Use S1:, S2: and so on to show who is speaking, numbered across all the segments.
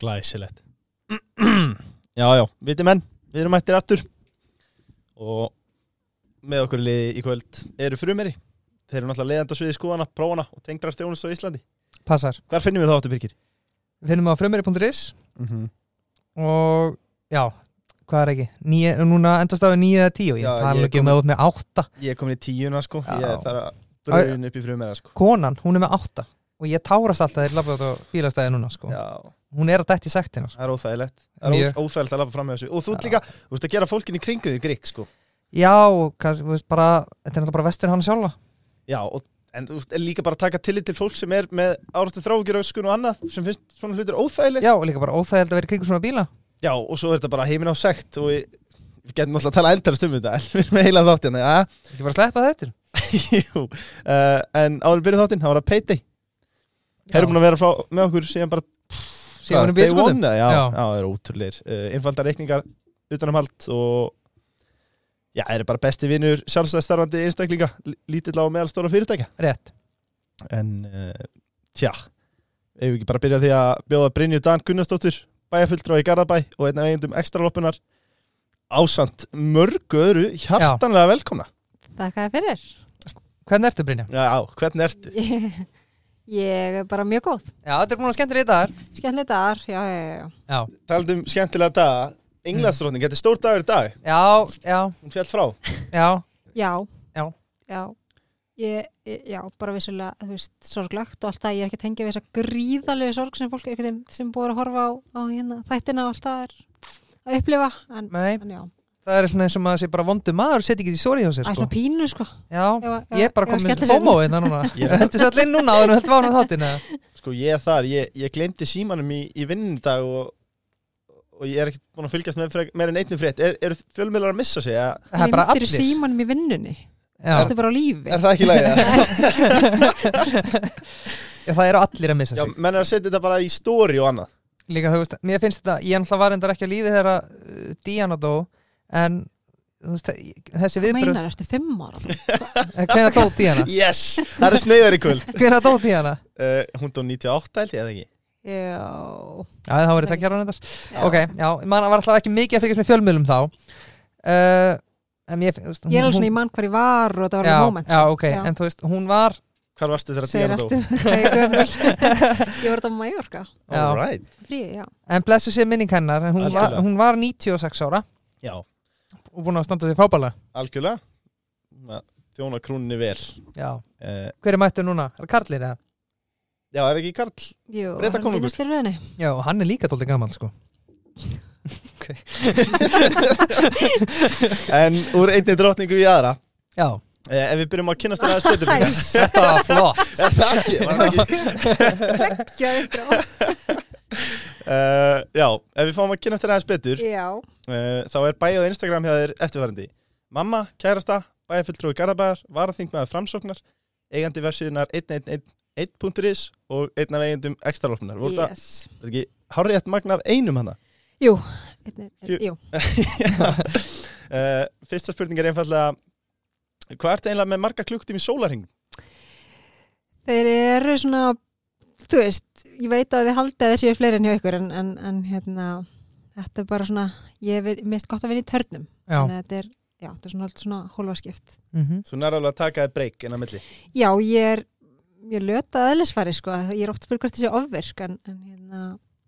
S1: Glæsilegt
S2: Já, já, viti menn, við erum mættir aftur og með okkur í liði í kvöld eru frumeri þeir eru náttúrulega leiðandi á sviði skoðana, prófana og tengdrar stjónust á Íslandi
S3: Passar.
S2: Hvar finnum við þá aftur, Birgir?
S3: Við finnum á frumeri.is
S2: Mm
S3: Mhm.
S2: -hmm.
S3: og já, hvað er ekki? Níu, núna endast á 9 eða
S2: Já,
S3: 10 ég tala
S2: ég
S3: ekki um
S2: kom-
S3: að út með 8
S2: Ég er komin í tíuna, sko Ég
S3: Já.
S2: þarf að bröðin upp í frumera, sko
S3: konan, hún er með 8 og ég tárast alltaf þegar ég labba út á bílastæði núna sko.
S2: Já,
S3: hún er að dætt í sektina sko.
S2: það er óþægilegt Það er
S3: Mjög.
S2: óþ- óþægilegt að lafa fram með þessu Og þú ert
S3: Já.
S2: líka, þú veist að gera fólkinni í kringum því grík, sko
S3: já, og kannski, þú veist bara þetta er náttúrulega bara vestur hann sjálfa
S2: Já, og, en þú veist, er líka bara að taka tillit til fólk sem er með áráttu þrágjuröskun og annað sem finnst svona hlutir óþægileg
S3: já, og líka bara óþægild að vera í kringum svona bíla
S2: Já, og svo er þetta bara heiminn á sekt og við, við getum alltaf að tala endalast um þetta en við erum með heila þáttinn ja,
S3: ekki bara sleppa þetta
S2: jú, uh, en áður við byrjum þáttinn, það var að peiti Þeir eru búin að vera frá, með okkur síðan bara
S3: síðan hún er
S2: day
S3: bílskotum
S2: one, eða? já, já.
S3: Já.
S2: það eru ótrúleir uh, Einfaldar reikningar utanumhald og já, þeir eru bara besti vinnur sjálfstæðstarfandi einstaklinga l- lítill á meðalstóra fyrirtækja
S3: rétt,
S2: en uh, tja, ef við ekki bara byrja á því að bjóða Brynju Dan Gunnarsdóttir bæjarfulltrá í Garðabæ og einn af eigendum ekstraloppunar ásamt mörgu öðru hjartanlega velkomna
S4: Þakka þér fyrir.
S3: hvernig ertu Brynja?
S2: Já, já, hvernig ertu?
S4: Ég, ég er bara mjög góð.
S3: já, þetta er búin að skemmtir í dagar
S4: Skemmtilegt dagar, já, já, já, já.
S3: já,
S2: Talandi um skemmtilega daga Englandsdrótning, þetta er stór dagur í dag
S3: já, já,
S2: Hún fjall frá
S3: já
S4: Já.
S3: Já.
S4: Já. Ég, ég- já, bara vissulega, þú veist, sorglegt og allt það. Ég er ekki að tengja við þessa gríðalegu sorg sem fólk er ekki sem búið að horfa á, á hérna, þættina og allt það er að upplifa. En,
S3: Nei,
S4: en já,
S3: það er svona eins og maður sé bara vondu maður setja ekki því sori hjá sér
S4: það er
S3: sko.
S4: svona pínu, sko.
S3: já,
S4: Ef- ef-
S3: ég er bara
S4: ef að
S3: komin með
S4: skella sér inn.
S3: FOMO hérna núna
S2: Ég-
S3: hendur sér allir inn núna áður en þetta var hann þáttina
S2: Sko ég er þar, ég, ég glemdi símanum í, í vinnum í dag og, og ég er ekkert búin að fylgjast með frek, meir en einnig frétt Er, Eru fjölmiðlar að missa sig? eða-
S3: það er bara
S4: Gleymdirðu
S3: allir
S4: símanum í vinnunni.
S3: já.
S4: Þetta er bara á lífi.
S2: Er það ekki lægið?
S3: já, það eru allir að missa
S2: já,
S3: sig
S2: menn er að setja þetta bara í stóri og annað
S3: líka þú veist, mér finnst þetta, ég ennþá var endar ekki að lífi þegar að uh, Diana dó en þú veist, þessi
S4: Hvað meinar,
S3: viðbröð
S4: ertu fimm ára?
S3: hvenær dó Diana?
S2: Yes, það eru sneiðar í kvöld
S3: hvenær dó Diana?
S2: uh, Hún dó 98 held ég eða ekki
S4: Já.
S3: já, það voru tveggjar ára endar ok, já, mann var alltaf ekki mikið að fylgjast með fjölmiðlum þá uh, en ég, þú veist,
S4: Ég er alveg svona, ég mann hvar ég var og það var
S3: já,
S4: alveg moment. sko.
S3: já, ok,
S4: Já.
S3: en þú veist, hún var
S2: Hvar varstu þegar
S4: segir
S2: Díana dó?
S4: allt um hvað ég gömur ég var þetta á Mallorca
S3: Já.
S2: All right
S4: fríi, já
S3: en blessu sér minning hennar, en hún var,
S2: Algjörlega.
S3: hún var 96 ára
S2: Já,
S3: og búin að standa sér frábælega
S2: algjörlega Svona, Þjóna krúnni vel
S3: já.
S2: uh,
S3: hver er mættur núna? Er það Karlir eða?
S2: Já, er ekki Karl?
S4: Jú,
S2: Breta konungur.
S4: í röðinni
S3: já, og hann er líka tóldi gammal sko
S2: En úr einni drotningu í aðra
S3: já,
S2: uh, Ef við byrjum að kynnast þér aðeins betur fyrir
S4: Æs.
S3: þetta var flott
S2: Er það ekki? Var það ekki?
S4: já, já,
S2: Uh, já, ef við fáum að kynnast þér aðeins betur uh,
S4: já,
S2: Þá er bæjað Instagram hjá þér eftirfærandi Mamma, kærasta, bæjarfulltrúi Garðabæðar Varaþing með framsóknar Eigandi vefsíðunar 111.is Og einn af eigendum ekstralopnar Voru það,
S4: yes
S2: yes. ekki, hárið eftir magna af einum hana
S4: Jú, einn er-
S2: Fjö-
S4: jú,
S2: uh, Fyrsta spurning er einfallega Hvað ertu eiginlega með marga klukktum í sólarhing?
S4: þeir eru svona þú veist, ég veit að þið haldið að þið séu fleiri en hjá ykkur en, en, en hérna, þetta er bara svona ég er mist gott að vinna í törnum
S3: já,
S4: þannig að þetta er, já, þetta er svona, allt svona hólfaskipt
S3: mhm,
S2: Þú nærðu alveg að taka þér breyk en að milli
S4: já, ég er ég er löta aðeinsfæri, sko, ég er oft spurð hvort þessi ofvirk, en, en hérna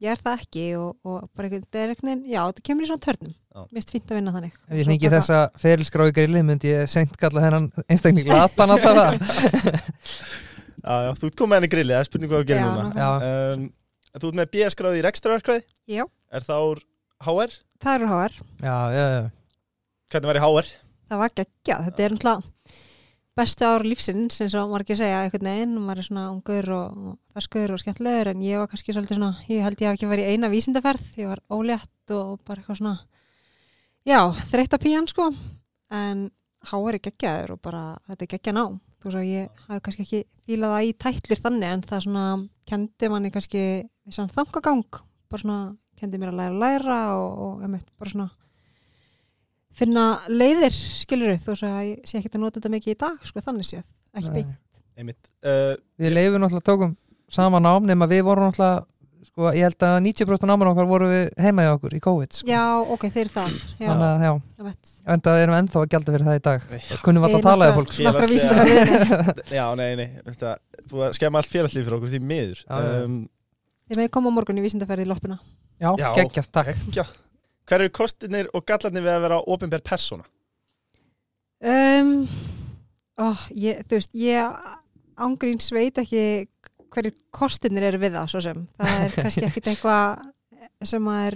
S4: ég er það ekki og, og bara einhvern þetta er einhvern veginn, já, þetta kemur í svona törnum
S2: Já.
S4: mér finnst fínt að vinna þannig
S3: ef ég fengi þessa ferilskrá í grilli myndi ég seint kalla hennan einstakling latan að það
S2: Já, já, þú ert komið henni grilli, það er spurning hvað þú gerir
S4: Já,
S2: núna
S3: já,
S2: um, Þú ert með BS gráði í rekstraverkvæði
S4: Já.
S2: Er það úr HR?
S4: það eru HR,
S3: já, já, já.
S2: Hvernig væri HR?
S4: það var geggjað þetta er náttúrulega bestu ár lífsins eins og margir segja einhvern veginn maður er svona ungur og og ferskur og skemmtlegur en ég var kannski svolítið svona, ég held ég hafi ekki verið í eina vísindaferð, ég var ólétt og bara eitthvað svona já, þreytt að píjan sko en háar er geggjaður og bara þetta er geggja nám, þú veist að ég hafi kannski ekki fílað það í tætlir þannig en það svona kendi manni kannski vissan þangagang, bara svona kendi mér að læra að læra og, og einmitt, bara svona finna leiðir, skilur þú veist að ég sé ekki að nota þetta mikið í dag sko þannig séð, ekki beint
S2: Einmitt uh,
S3: við leifum náttúrulega tókum saman ám nema við vorum náttúrulega sko, ég held að 90% námar okkar voru við heima í okkur í COVID sko.
S4: já, ok, þeir það já,
S3: þannig að já,
S4: einmitt.
S3: en það erum ennþá að gjalda fyrir það í dag kunnum alltaf
S4: Við
S3: að tala
S4: náttúrulega-
S3: við fólk
S4: Nokkra
S2: Félagslega-
S4: vísindaverðina.
S2: Já, nei, nei, þetta búið að skemma allt félagslíf fyrir okkur því miður
S3: Já, já.
S4: Þið með koma á morgun í vísindaferði í loppuna
S3: já,
S2: Já.
S3: geggjart, takk
S2: já. Hver eru kostinir og gallarnir við að vera ofinbær persóna?
S4: um, ó, ég, Þú veist, ég ángrín sveit ekki hverjir kostinir eru við það svo sem það er kannski ekkit eitthvað sem að er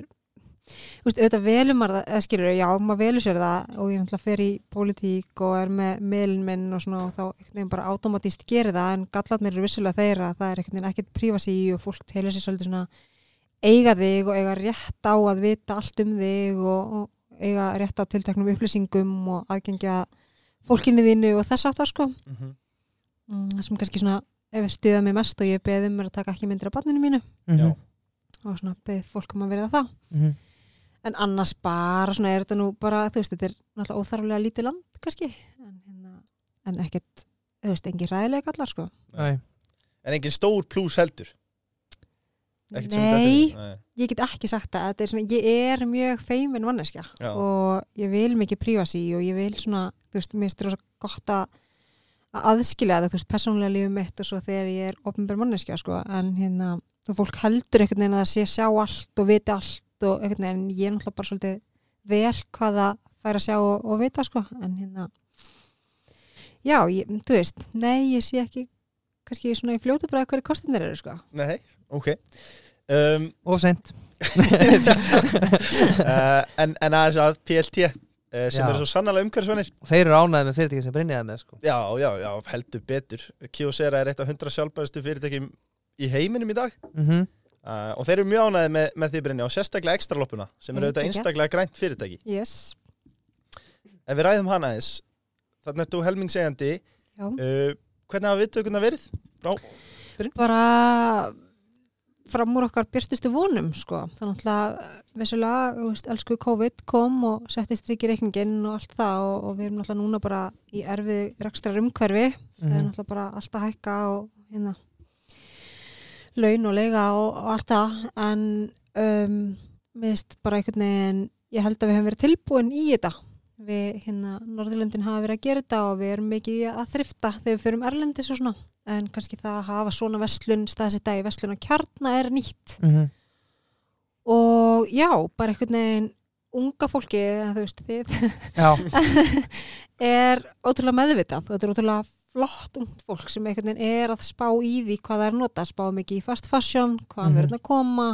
S4: þú veist, auðvitað velur maður það, eða skilur já, maður velur sér það og ég náttúrulega fer í pólitík og er með meðlinn minn og svona og þá einhvern veginn bara automatíst gerir það en gallarnir eru vissulega þeirra að það er einhvern veginn ekkert prífasi í og fólk telur sér svolítið svona eiga þig og eiga rétt á að vita allt um þig og, og eiga rétt á tilteknum upplýsingum og aðgengja fólkinni þínu og þess aftar sko
S2: Mm
S3: Mhm.
S2: -hmm.
S4: Mm, það sem kannski svona ef við stuða mig mest og ég beði um að taka ekki myndir af barninu mínu
S3: Mhm,
S4: og svona beði fólk um að verða það
S3: mhm.
S4: en annars bara svona er þetta nú bara þú veist, þetta er náttúrulega óþarflega lítið land kannski en, hérna, en ekkert, þú veist, engin ræðilega kallar sko
S3: Nei.
S2: En engin stór plús heldur Ekkert sem þetta
S4: Nei,
S2: er- nei.
S4: ég get ekki sagt það þetta er svona, ég er mjög feimin manneskja
S2: Já.
S4: og ég vil mikið prífasi og ég vil svona, þú veist, mér styrir svo gott að að aðskilja það, þú veist, persónlega lífið mitt og svo þegar ég er ofnbjör manneskja, sko, en hérna og fólk heldur einhvern veginn að það sé sjá allt og viti allt og einhvern veginn en ég er náttúrulega bara svolítið vel hvað það fær að sjá og, og vita, sko, en hérna já, ég, þú veist nei, ég sé ekki kannski svona í fljótu bara hverju kostinir eru, sko
S2: Nei, ok um,
S3: of seint
S2: uh, en, en aðeins að PLT uh, sem
S3: Já.
S2: eru svo sannlega umhverfisvennir
S3: og þeir eru ánæðið með fyrirtæki sem brinniðið með sko.
S2: Já, já, já, heldur betur Kyocera er eitt af 100 sjálfbæðustu fyrirtækjum í heiminum í dag
S3: mm
S2: uh, og þeir eru mjög ánæði með, með því brinni og sérstaklega ekstraloppuna sem eru
S4: Ég
S2: auðvitað
S4: ekki.
S2: einstaklega grænt fyrirtæki
S4: yes,
S2: Ef við ræðum hana aðeins þannig er þú helmingsegjandi
S4: já
S2: uh, hvernig hafa viðtökuna verið? Frá,
S4: bara fram úr okkar byrstustu vonum sko. þannig að vissulega þú veist, elsku COVID kom og setti strik í reikningin og allt það og, og við erum náttúrulega núna bara í erfið rekstrar umhverfi það
S3: Mhm.
S4: er náttúrulega bara allt að hækka og hérna laun og leiga og, og allt það en um, minnst bara einhvern veginn ég held að við höfum verið tilbúin í þetta við hérna Norðurlöndin hafa verið að gera þetta og við erum mikið í að þrifta þegar við fyrum erlendis og svona en kannski það að hafa svona vestlun staðsetta í vestlun og kjarna er nýtt
S3: -hmm.
S4: og já, bara einhvern veginn unga fólkið, eða þú veist, þið
S3: já,
S4: er ótrúlega meðvitað þetta er ótrúlega flott ungt fólk sem einhvern veginn er að spá í því hvað það er að nota spá mikið í fast fashion, hvaðan
S3: Mhm.
S4: verður að koma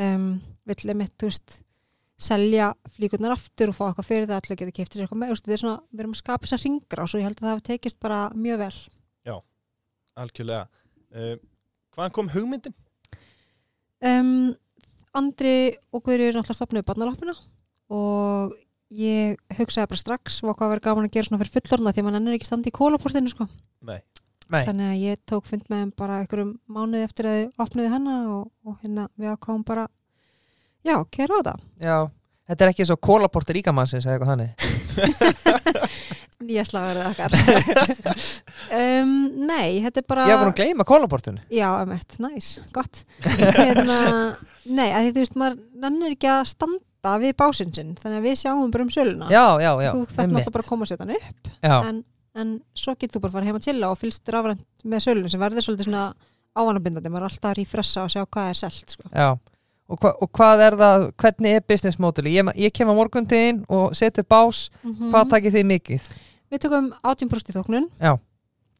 S4: um, vill emitt, þú veist selja flíkurnar aftur og fá eitthvað fyrir það allir geta keftir sér eitthvað með, þú veist, þetta er svona við erum að skapa þess að ringra og svo ég held að það hafi tekist bara mjög vel
S2: algjörlega uh, Hvaðan kom hugmyndin?
S4: um, Andri og Guðri eru náttúrulega stopnuð barnalappina og ég hugsaði bara strax og hvað verið gaman að gera svona fyrir fullorna því að mann ennir ekki standi í kólaportinu sko.
S2: Nei,
S3: nei,
S4: þannig að ég tók fund með þeim bara einhverjum mánuði eftir að þau opnuði hana og, og hérna við ákváðum bara já, kera á það
S3: já þetta er ekki svo kólaportur íkamannsins eða eitthvað hannig
S4: ég slagur það akkar um, nei, þetta er bara
S3: ég hef búin að gleyma kólaportunni
S4: Já, emmett, næs, gott hérna, Nei, að því þú veist maður nennir ekki að standa við básinn sinn þannig að við sjáum bara um söluna
S3: já, já, já,
S4: þú þarft
S3: einmitt.
S4: náttúrulega bara Ah. að koma og setja hann upp
S3: já,
S4: en, en svo getur þú bara að fara heim að chilla og fylgst rafrænt með söluna sem verður svolítið svona ávanabindandi, maður er alltaf að rífressa og sjá hvað er selt sko.
S3: já. Og, hva, og hvað er það, hvernig er business modeli ég, ég kem á morgun til þín og setja upp bás
S4: Mhm.
S3: hvað takir þið mikið
S4: Við tökum 18% í þóknun
S3: Já.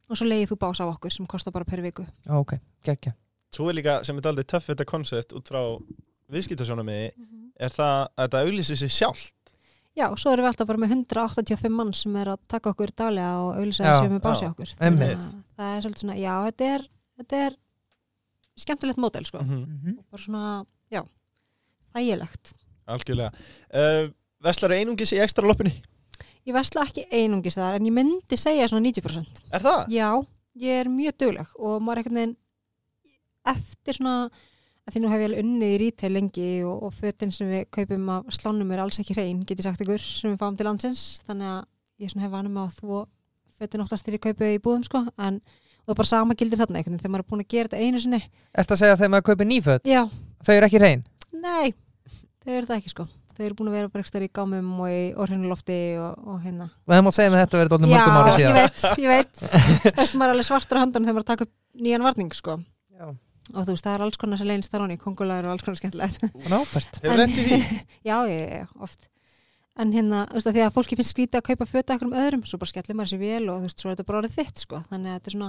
S4: og svo leiði þú bás á okkur sem kostar bara per viku
S3: Já, ok, geggja
S2: svo er líka sem er aldrei töff þetta koncept út frá viðskiptasjónamiði
S4: Mhm.
S2: er það að þetta auglýsir sig sjálf
S4: Já, og svo erum við alltaf bara með 185 mann sem er að taka okkur daglega og auðvitað
S3: Já,
S4: sem er bási
S2: já,
S4: okkur.
S3: einmitt.
S4: Þannig að Það er svolítið svona, já, þetta er, þetta er skemmtilegt mótel,
S3: Mhm.
S4: sko.
S2: -hmm.
S4: Bara svona, já, þægilegt.
S2: Algjörlega uh, Veslar einungis í ekstra loppinni
S4: Ég versla ekki einungis þar, en ég myndi segja svona 90%.
S2: Er það?
S4: Já, ég er mjög dugleg og maður einhvern veginn eftir svona, að því nú hef ég alveg unnið í retail lengi og, og fötin sem við kaupum af slánum er alls ekki hrein, get ég sagt ykkur, sem við fáum til landsins. Þannig að ég svona hef vanum á þvó fötin oftast þegar ég kaupið í búðum, sko, en og bara sama gildir þarna einhvern veginn þegar maður er búin að gera þetta einu sinni
S3: Ertu að segja að þegar maður kaupir nýföt,
S4: já,
S3: þau eru ekki reyn
S4: nei, þau eru það ekki sko þau eru búin að vera bara ekki stöður í gámum og í orðinulofti og, og hérna
S3: og það má segja með þetta verið dólnum
S4: já,
S3: mörgum ári
S4: ég
S3: síðan
S4: veit, ég veit þess maður er alveg svartur á handan þegar maður er að taka upp nýjan varning sko
S3: Já.
S4: og þú veist, það er alls konar sem leynist þar honni, kongulegur og alls konar skemmtilegt
S3: Rábert
S2: Hefur lent í því?
S4: já, já, já, já, oft en hérna, þú veist að því að fólki finnst skrítið að kaupa föta ekkur um öðrum, svo bara skellir maður sér vel og þú veist, svo er þetta bara orðið þitt, sko þannig að þetta er svona,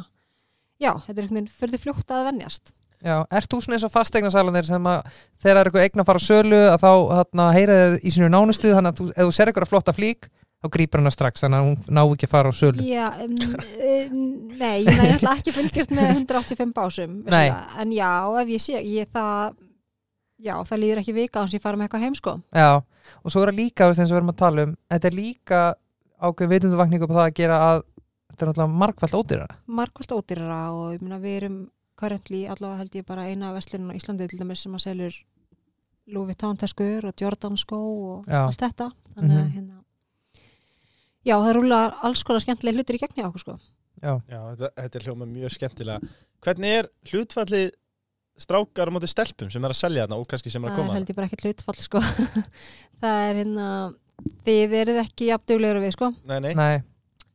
S4: já, þetta er einhvern veginn fyrir fljótt að venjast
S3: Já, ert þú svona eins og fastegnasalanir sem að þegar það er eitthvað eign að fara á sölu að þá hérna, heyra þið í sínu nánustu þannig að þú, ef þú ser eitthvað flotta flík þá grýpar hana strax þannig að hún ná ekki að fara á sölu
S4: já, um, um, nei, ég næ alltaf ekki að fylgjast með 185 básum
S3: Nei.
S4: vissulega. en já, ef ég sé, ég það já, það líður ekki vika án sem ég fara með eitthvað heim, sko
S3: Já, og svo er það líka þess að við erum að tala um þetta er líka ákveðin vitundavakningu på það að gera að þetta er náttúrulega margfald ódýra
S4: margvöld ódýrara og ég meina við erum currently allavega held ég bara eina vestlinn á Íslandi til dæmis sem að selur Louis Vuitton teskur og Jordan skó og
S3: Já.
S4: allt þetta þannig að
S3: Mhm.
S4: hérna já það rúlar alls konar skemmtilega hlutir í gegn hjá okkur sko
S2: Já, þetta, þetta er hljóma mjög skemmtilega. Hvernig er hlutfallið strákar á móti stelpum sem er að selja þarna og kannski sem er að
S4: það er
S2: koma?
S4: held ég bara ekkert hlutfall sko það er hérna þið eruð ekki jafnduglegur við sko
S2: Nei, nei.
S3: Nei,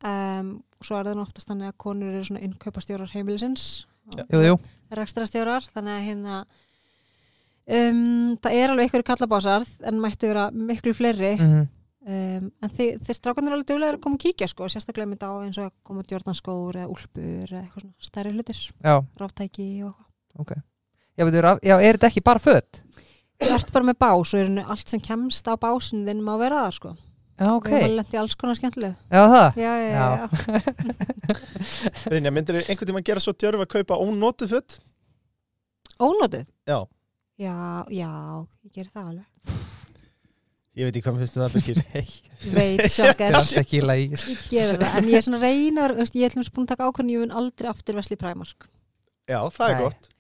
S4: um, og svo er það nú oftast þannig að konur eru svona innkaupastjórar heimilisins
S2: Já.
S3: jú, jú,
S4: rekstrastjórar þannig að hérna um, það er alveg ykkur kallabásar en mættu vera miklu fleiri
S3: mm
S4: um, en þið, þið strákanir eru alveg duglega að koma að kíkja sko, sérstaklega með á eins og að koma djórnanskór eða úlpur eða eitthvað svona stærri hlutir,
S3: já,
S4: ráftæki og eitthvað
S3: já, veitur, af- já, er þetta ekki bara föt?
S4: Þú ert bara með bás og er henni allt sem kemst á básinn þinn má vera þar sko
S3: Já, ok,
S4: Við erum að lenda í alls konar skemmtileg
S3: já það
S4: Já, já, já,
S3: Já.
S4: já.
S2: Brynja, myndir þið einhvern tíma gera svo djörf að kaupa ónótu föt?
S4: Ónótið?
S2: Já.
S4: Já, já, ég ger það alveg
S2: Ég veit ekki hvað mér finnst um það að byggja.
S4: Ég Veit, sjokkar
S3: Þetta er alls ekki í lagi sko.
S4: Ég ger það, en ég er svona reynar Ég ætlum að búin að taka ákvörðin, ég mun aldrei aftur vesli Primark
S2: Já, það er
S3: Nei.
S2: gott.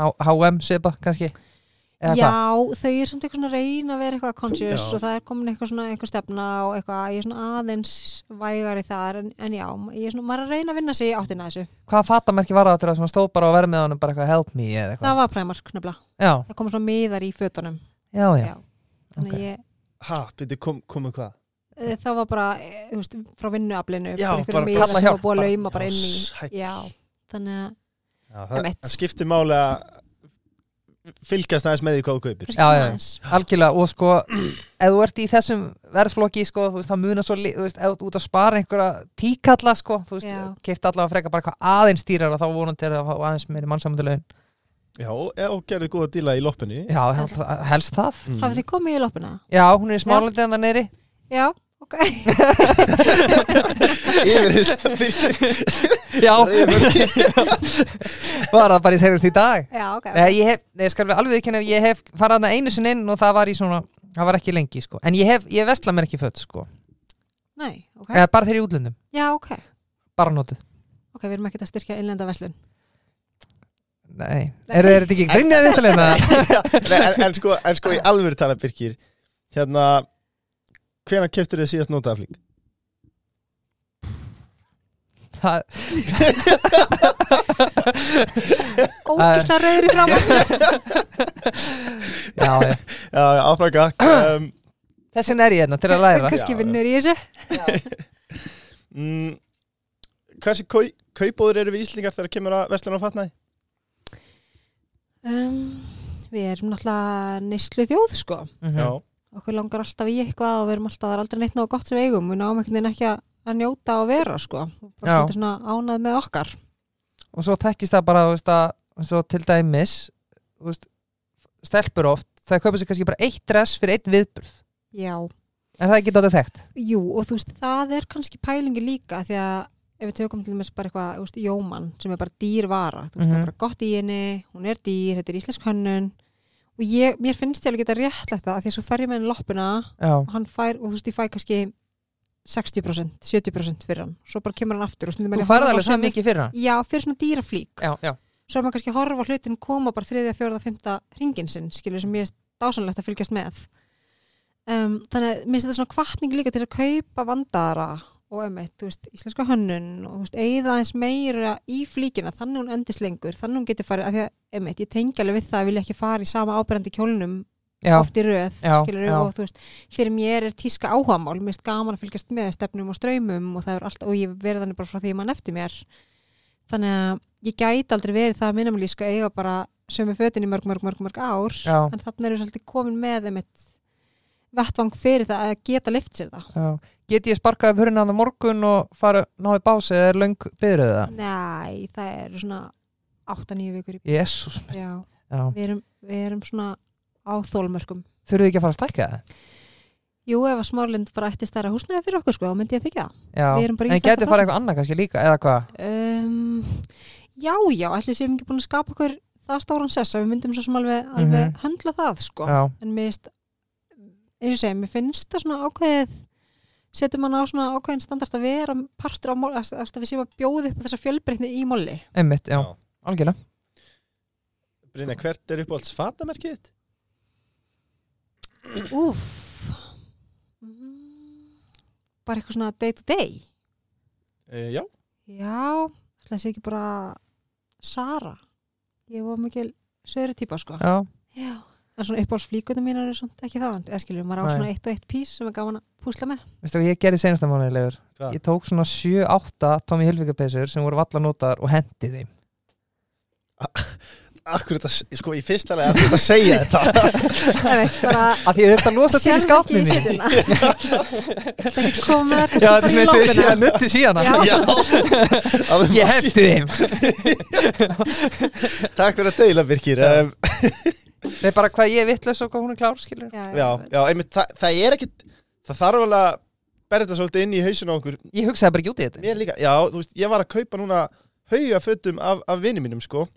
S3: H- H&M sepa kannski Eða
S4: Já,
S3: hvað?
S4: þau eru samt eitthvað svona að reyna að vera eitthvað conscious
S2: Já.
S4: og það er komin eitthvað svona eitthvað stefna og eitthvað, ég er svona aðeins vægari þar en, en já, ég er svona, maður er að reyna að vinna sig í áttina að þessu.
S3: Hvað fattamerki var það til það sem að stóð bara á vermiðanum bara eitthvað help me eða eitthvað
S4: Það var Primark nefnilega,
S3: Já,
S4: það kom svona miðar í fötunum,
S3: já, já,
S4: Já. þannig
S3: Ok.
S4: okay. ég,
S2: Ha, byrju, kom, komu hvað?
S4: eh, það var bara, eh, þú veist, frá vinnuaflinu,
S2: Já,
S4: bara
S2: bara
S4: einhverjum miðar
S3: kalla
S4: sem
S3: hjálp
S4: var búið
S3: bara.
S4: að lauma bara
S2: Já,
S4: inn
S2: sæll.
S4: í, já, þannig að,
S2: Já, það,
S4: Einmitt.
S2: það skiptir máli að fylgjast aðeins með því hvað þú kaupir.
S4: kannski
S3: já.
S4: aðeins.
S3: algjörlega og sko ef þú ert í þessum verðflokki sko, þú veist, það munar svo, li- þú veist, ef þú ert út að spara einhverja tíkalla sko, þú
S4: Já.
S3: veist, keift allavega freka bara hvað aðeins dýrar og þá vonandi er það aðeins meiri mannsamöndulegin
S2: Já, og, og gerðu góða díla í loppinu.
S3: Já, hel- helst það
S4: Hafið þið komið í loppuna?
S3: Já, hún er í smálandi en það neyri
S4: Já, ok.
S2: Yfirheysla fyrir-
S3: Já, var það bara í segjumst í dag
S4: Já, ok.
S3: Nei, ég hef, nei, skal við alveg ekki nefn, ég hef farað hana einu sinni inn og það var í svona, það var ekki lengi, sko. En ég hef, ég vesla mér ekki fött, sko.
S4: Nei, ok.
S3: Eða bara þegar ég er í útlöndum,
S4: Já, ok.
S3: bara notið.
S4: Ok, við erum ekkert að styrkja innlenda veslun.
S3: Nei, eru er þetta ekki grinnið að þetta leina?
S2: Nei, en, en, sko, en sko í alvöru tala Birkir Hérna Hvenær keftur þið síðast notafling?
S3: Það,
S4: Ógislega rauður í fram
S3: já, já.
S2: Já, já, áfraka um,
S3: Þess vegna er ég hérna til að læra.
S4: kannski
S2: Já,
S4: vinnur í þessu
S2: mm, Hversi kau, kaupóður eru við Íslingar þegar kemur að verslun á fatnaði?
S4: um, Við erum náttúrulega neyslu þjóð sko
S3: Mm
S4: okkur langar alltaf í eitthvað og við erum alltaf það er aldrei neitt náðu gott sem við eigum við náum einhvern veginn ekki að, að njóta og vera sko og bara
S3: Já.
S4: svolítið svona ánað með okkar
S3: Og svo þekkist það bara, þú veist, að, svo til dæmis, þú veist, stelpur oft, það kaupa sér kannski bara eitt dress fyrir eitt viðburð.
S4: Já,
S3: Er það ekki dótið þekkt?
S4: jú og þú veist það er kannski pælingi líka því að ef við tökum til dæmis bara eitthvað þú veist, jóman sem er bara dýrvara þú veist það
S3: Mhm.
S4: er bara gott í henni, hún er dýr þetta er íslensk hönnun og ég, mér finnst ég alveg geta réttlegt það af því að svo fer ég með henni loppuna
S3: Já,
S4: og hann fær, og þú veist, ég fæ kannski 60%, 70% fyrir hann svo bara kemur hann aftur og stundum
S3: þú
S4: er ég að
S3: farið
S4: horfa á
S3: alveg svo
S4: sömu-
S3: mikið fyrir hann.
S4: Já, fyrir svona dýraflík
S3: Já, já.
S4: svo er maður kannski að horfa á hlutin koma bara þriðja, fjórða, fymta hringin sinn, skilur sem ég er dásanlegt að fylgjast með um, þannig að minnst þetta svona kvartning líka til þess að kaupa vandara og emitt, þú veist, íslenska hönnun og þú veist, eigða eins meira í flíkina þannig hún endist lengur, þannig hún getur farið af því að emitt, ég tengi alveg við það að vilja ekki fara í sama áberandi kjólnum
S3: já,
S4: oft í röð,
S3: Já,
S4: skilur
S3: já.
S4: og þú veist, fyrir mér er tíska áhugamál mér finnst gaman að fylgjast með stefnum og ströymum og það er allt, og ég verði þannig bara frá því að mann eftir mér þannig að ég gæti aldrei verið það minimalísk að eiga bara sömu fötin í mörg, mörg, mörg, mörg ár
S3: Já.
S4: en þannig erum við svolítið komin með einmitt vettvang fyrir það að geta lift sér það
S3: já. Get ég sparkað um hurinn á það morgun og fara ná í bási eða er löng byrðið það?
S4: Nei, það eru svona 8-9 vikur í
S3: Jésús,
S4: já,
S3: já.
S4: við erum, við erum svona á þólmörkum
S3: Þurfið ekki að fara að stækka það?
S4: Jú, ef að Smárlind bara ætti stærra húsnæði fyrir okkur sko, þá myndi ég þykja það
S3: Já,
S4: Við erum bara í
S3: en
S4: stærsta
S3: getið farið eitthvað annað kannski líka eða hvað?
S4: um, Já, já, ætli séum ekki búin að skapa okkur það stóran sess að við myndum svo sem alveg, alveg
S3: Mhm.
S4: höndla það sko
S3: Já,
S4: en mér finnst eins og segja, mér finnst það svona ákveðið setur mann á svona ákveðin standart að vera partur á mál, að, að að við séum að bjóða upp á þessa fjölbreytni í máli
S3: einmitt, já,
S2: Já.
S3: algjörlega.
S2: Brynja, hvert er uppáhalds fatamerkið þitt?
S4: Úff Mm, bara eitthvað svona day to day
S2: E, já,
S4: Já, ætla að sé ekki bara Sara ég var mikil söðri típa sko
S3: Já,
S4: Já, en svona uppáhaldsflíkunum mínar er svona ekki það, eða skilur, maður á
S3: Nei.
S4: svona eitt og eitt pís sem er gaman að púsla með.
S3: veistu hvað ég gerði senasta mánuði leifur?
S2: Hvað?
S3: Ég tók svona 7-8 Tommy Hilfingapesur sem voru valla notaðar og hendi þeim.
S2: akkur þetta, sko í fyrsta lega akkur þetta segja þetta
S4: Það er ekki bara,
S3: Að því ég þurfti að losa til í
S4: sérðu ekki í
S3: skápnum mín.
S4: setina. Það er ekki komið með
S3: Já, þetta er svona eins og
S4: bara í
S3: ég sé
S4: lófana.
S3: að nutti síðan
S4: Já.
S2: Já, alveg
S3: Ég
S2: massi-
S3: hendi þeim.
S2: Takk fyrir að deila, Birkir
S3: Já.
S2: um,
S3: Nei, bara hvað ég er vitlaus og hvað hún er klár, skilur.
S4: Já,
S2: Já, já, einmitt, það, það er ekkit Það þarf alveg að berja þetta svolítið inn í hausinu á okkur
S3: Ég hugsaði bara ekki út í þetta.
S2: Mér líka, já, þú veist, ég var að kaupa núna hauga fötum af, af vini mínum, sko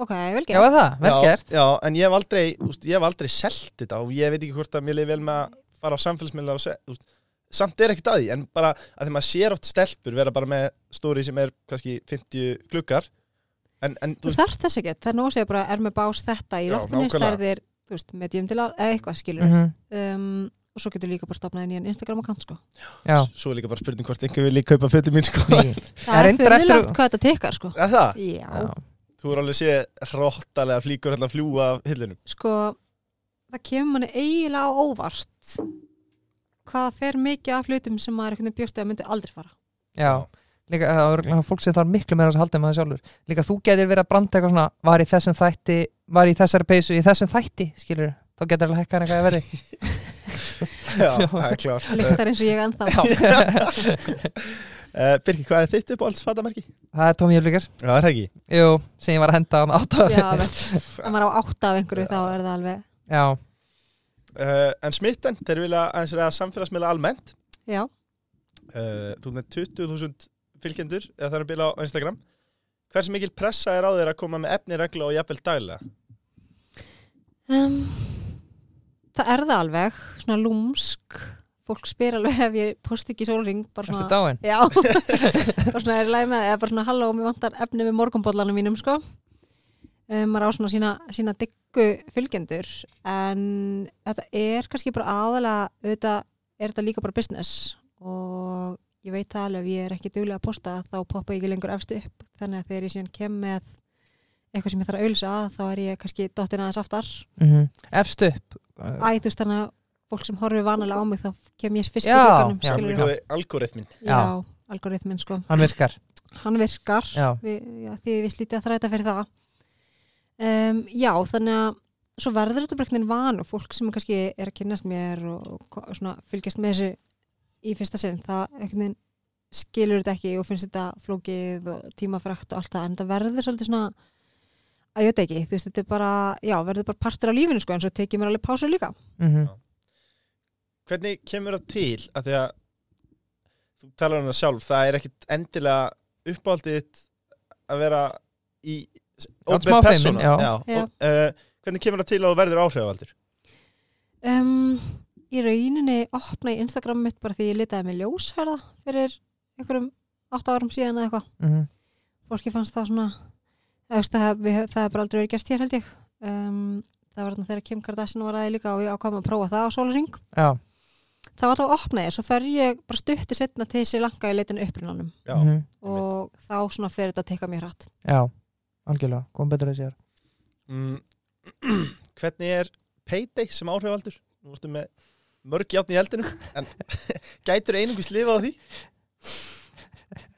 S4: Ok, vel
S3: Já,
S4: gert.
S3: er það, vel
S2: Já,
S3: gert.
S2: Já, en ég hef aldrei, þú veist, ég hef aldrei selt þetta og ég veit ekki hvort að mér liði vel með að fara á samfélagsmiðla og se, þú veist, samt er ekkert að því, en bara að því maður sér oft stelpur vera bara með stóri sem er kannski 50 klukkar en, en þú
S4: Þú
S2: veist,
S4: þarft þess ekki, það er nósið bara er með bás þetta í
S2: Já,
S4: loppunni,
S2: nákvæmlega.
S4: stærðir, þú veist, medium til að, eða eitthvað skilur.
S3: Mm -hmm.
S4: Um, og svo getur líka bara stopnað inn í en Instagram account sko.
S3: Já.
S2: svo er líka bara spurning hvort einhver vil kaupa fötum mín, sko
S3: Nei.
S4: Það er
S3: reyndar eftir-
S4: fyrirlagt hvað þetta tekar sko.
S2: Er það?
S4: Já,
S3: Já.
S2: Þú er alveg séð hróttalega flíkur hérna að fljúa af hillunum
S4: sko, það kemur manni eiginlega á óvart hvað það fer mikið af hlutum sem maður einhvern veginn bjóst eða myndi aldrei fara.
S3: Já. Líka, það er örugglega fólk sem þarf miklu meira að halda með það sjálfur. Líka þú getur verið að branda eitthvað svona, var í þessum þætti, var í þessari peysu, í þessum þætti, skilur. Þá getur alveg hækkar eitthvað að verði.
S2: Já, það er klart
S4: Líktar eins og ég ennþá.
S2: uh, Birkir, hvað er þitt upp á alls fatamerki?
S3: Það er Tómi Jölvíkar.
S2: Já, það er það ekki
S3: Jú, sem ég var að henda á með átta.
S4: Já, vel. Ef maður á átta af einhverju þá er það alveg,
S3: Já.
S2: uh, En smitten, þeir vilja aðeins reyða samfélagsmiðla almennt
S4: já,
S2: uh, þú ert með 20.000 fylgjendur eða það er að bila á Instagram hversu mikil pressa er á þeir að koma með efni regla og jafnvel daglega
S4: um, það er það alveg, svona lúmsk, fólk spyr alveg ef ég posti ekki sólring, bara
S3: Erstu
S4: svona,
S3: dáin?
S4: já, bara svona er læg með, það, eða bara svona halló, mér vantar efni við morgunbollanum mínum, sko. Um, maður á svona sína, sína diggu fylgjendur, en þetta er kannski bara aðalega, auðvitað er þetta líka bara business og ég veit það alveg ef ég er ekki duglega að posta þá poppa ég ekki lengur efstu upp þannig að þegar ég síðan kem með eitthvað sem ég þarf að auðlisa þá er ég kannski dottin aðeins aftar
S3: Mm Efst upp.
S4: Æ, þú veist þannig að fólk sem horfir vanalega á mig þá kem ég fyrst í
S3: Já,
S4: hluganum
S3: já,
S4: skilurðu.
S3: líka.
S2: algoritmin
S4: já, algoritminn sko
S3: Hann virkar.
S4: hann virkar
S3: Já.
S4: við, já, því við slítið að þræta fyrir það um, já, þannig að svo verður þetta bara einhvern veginn van og fólk sem kannski er að kynnast mér og, og ko- svona, fylgjast með þessu í fyrsta sinn, það einhvern veginn skilur þetta ekki og finnst þetta flókið og tímafrækt og allt það en það verður svolítið svona að ég veit ekki, þú veist, þetta er bara, já, verður bara partur af lífinu sko, en svo tekið mér alveg pásu líka
S3: Mm
S2: hvernig kemur það til að því að þú talar um það sjálf það er ekkit endilega uppáhaldið þitt að vera í opið
S3: smá
S2: persóna.
S3: feimin, já.
S4: Já.
S2: Og, uh, hvernig kemur það til að þú verður áhrifaldur
S4: Um, í rauninni opna ég Instagram mitt bara því ég litaði með ljósherða fyrir einhverjum 8 árum síðan eða eitthvað.
S3: -hmm.
S4: Fólki fannst það svona, eða, veist, það, við, það er bara aldrei verið gerst hér held ég. Um, það var þarna þegar Kim Kardashian var aðeins líka og ég ákvæm að prófa það á sólaring.
S3: Já.
S4: það var þá að opna ég, svo fer ég bara stutti setna til þessi langa í leitin upprunanum
S2: Já,
S3: Mhm.
S4: og þá svona fer þetta að teka mjög hratt.
S3: Já, algjörlega, kom betur þessi hér
S2: Mm. Hvernig er payday sem áhrifaldur? Nú ertu með mörg játn í eldinum en gætur einungis lifað á því?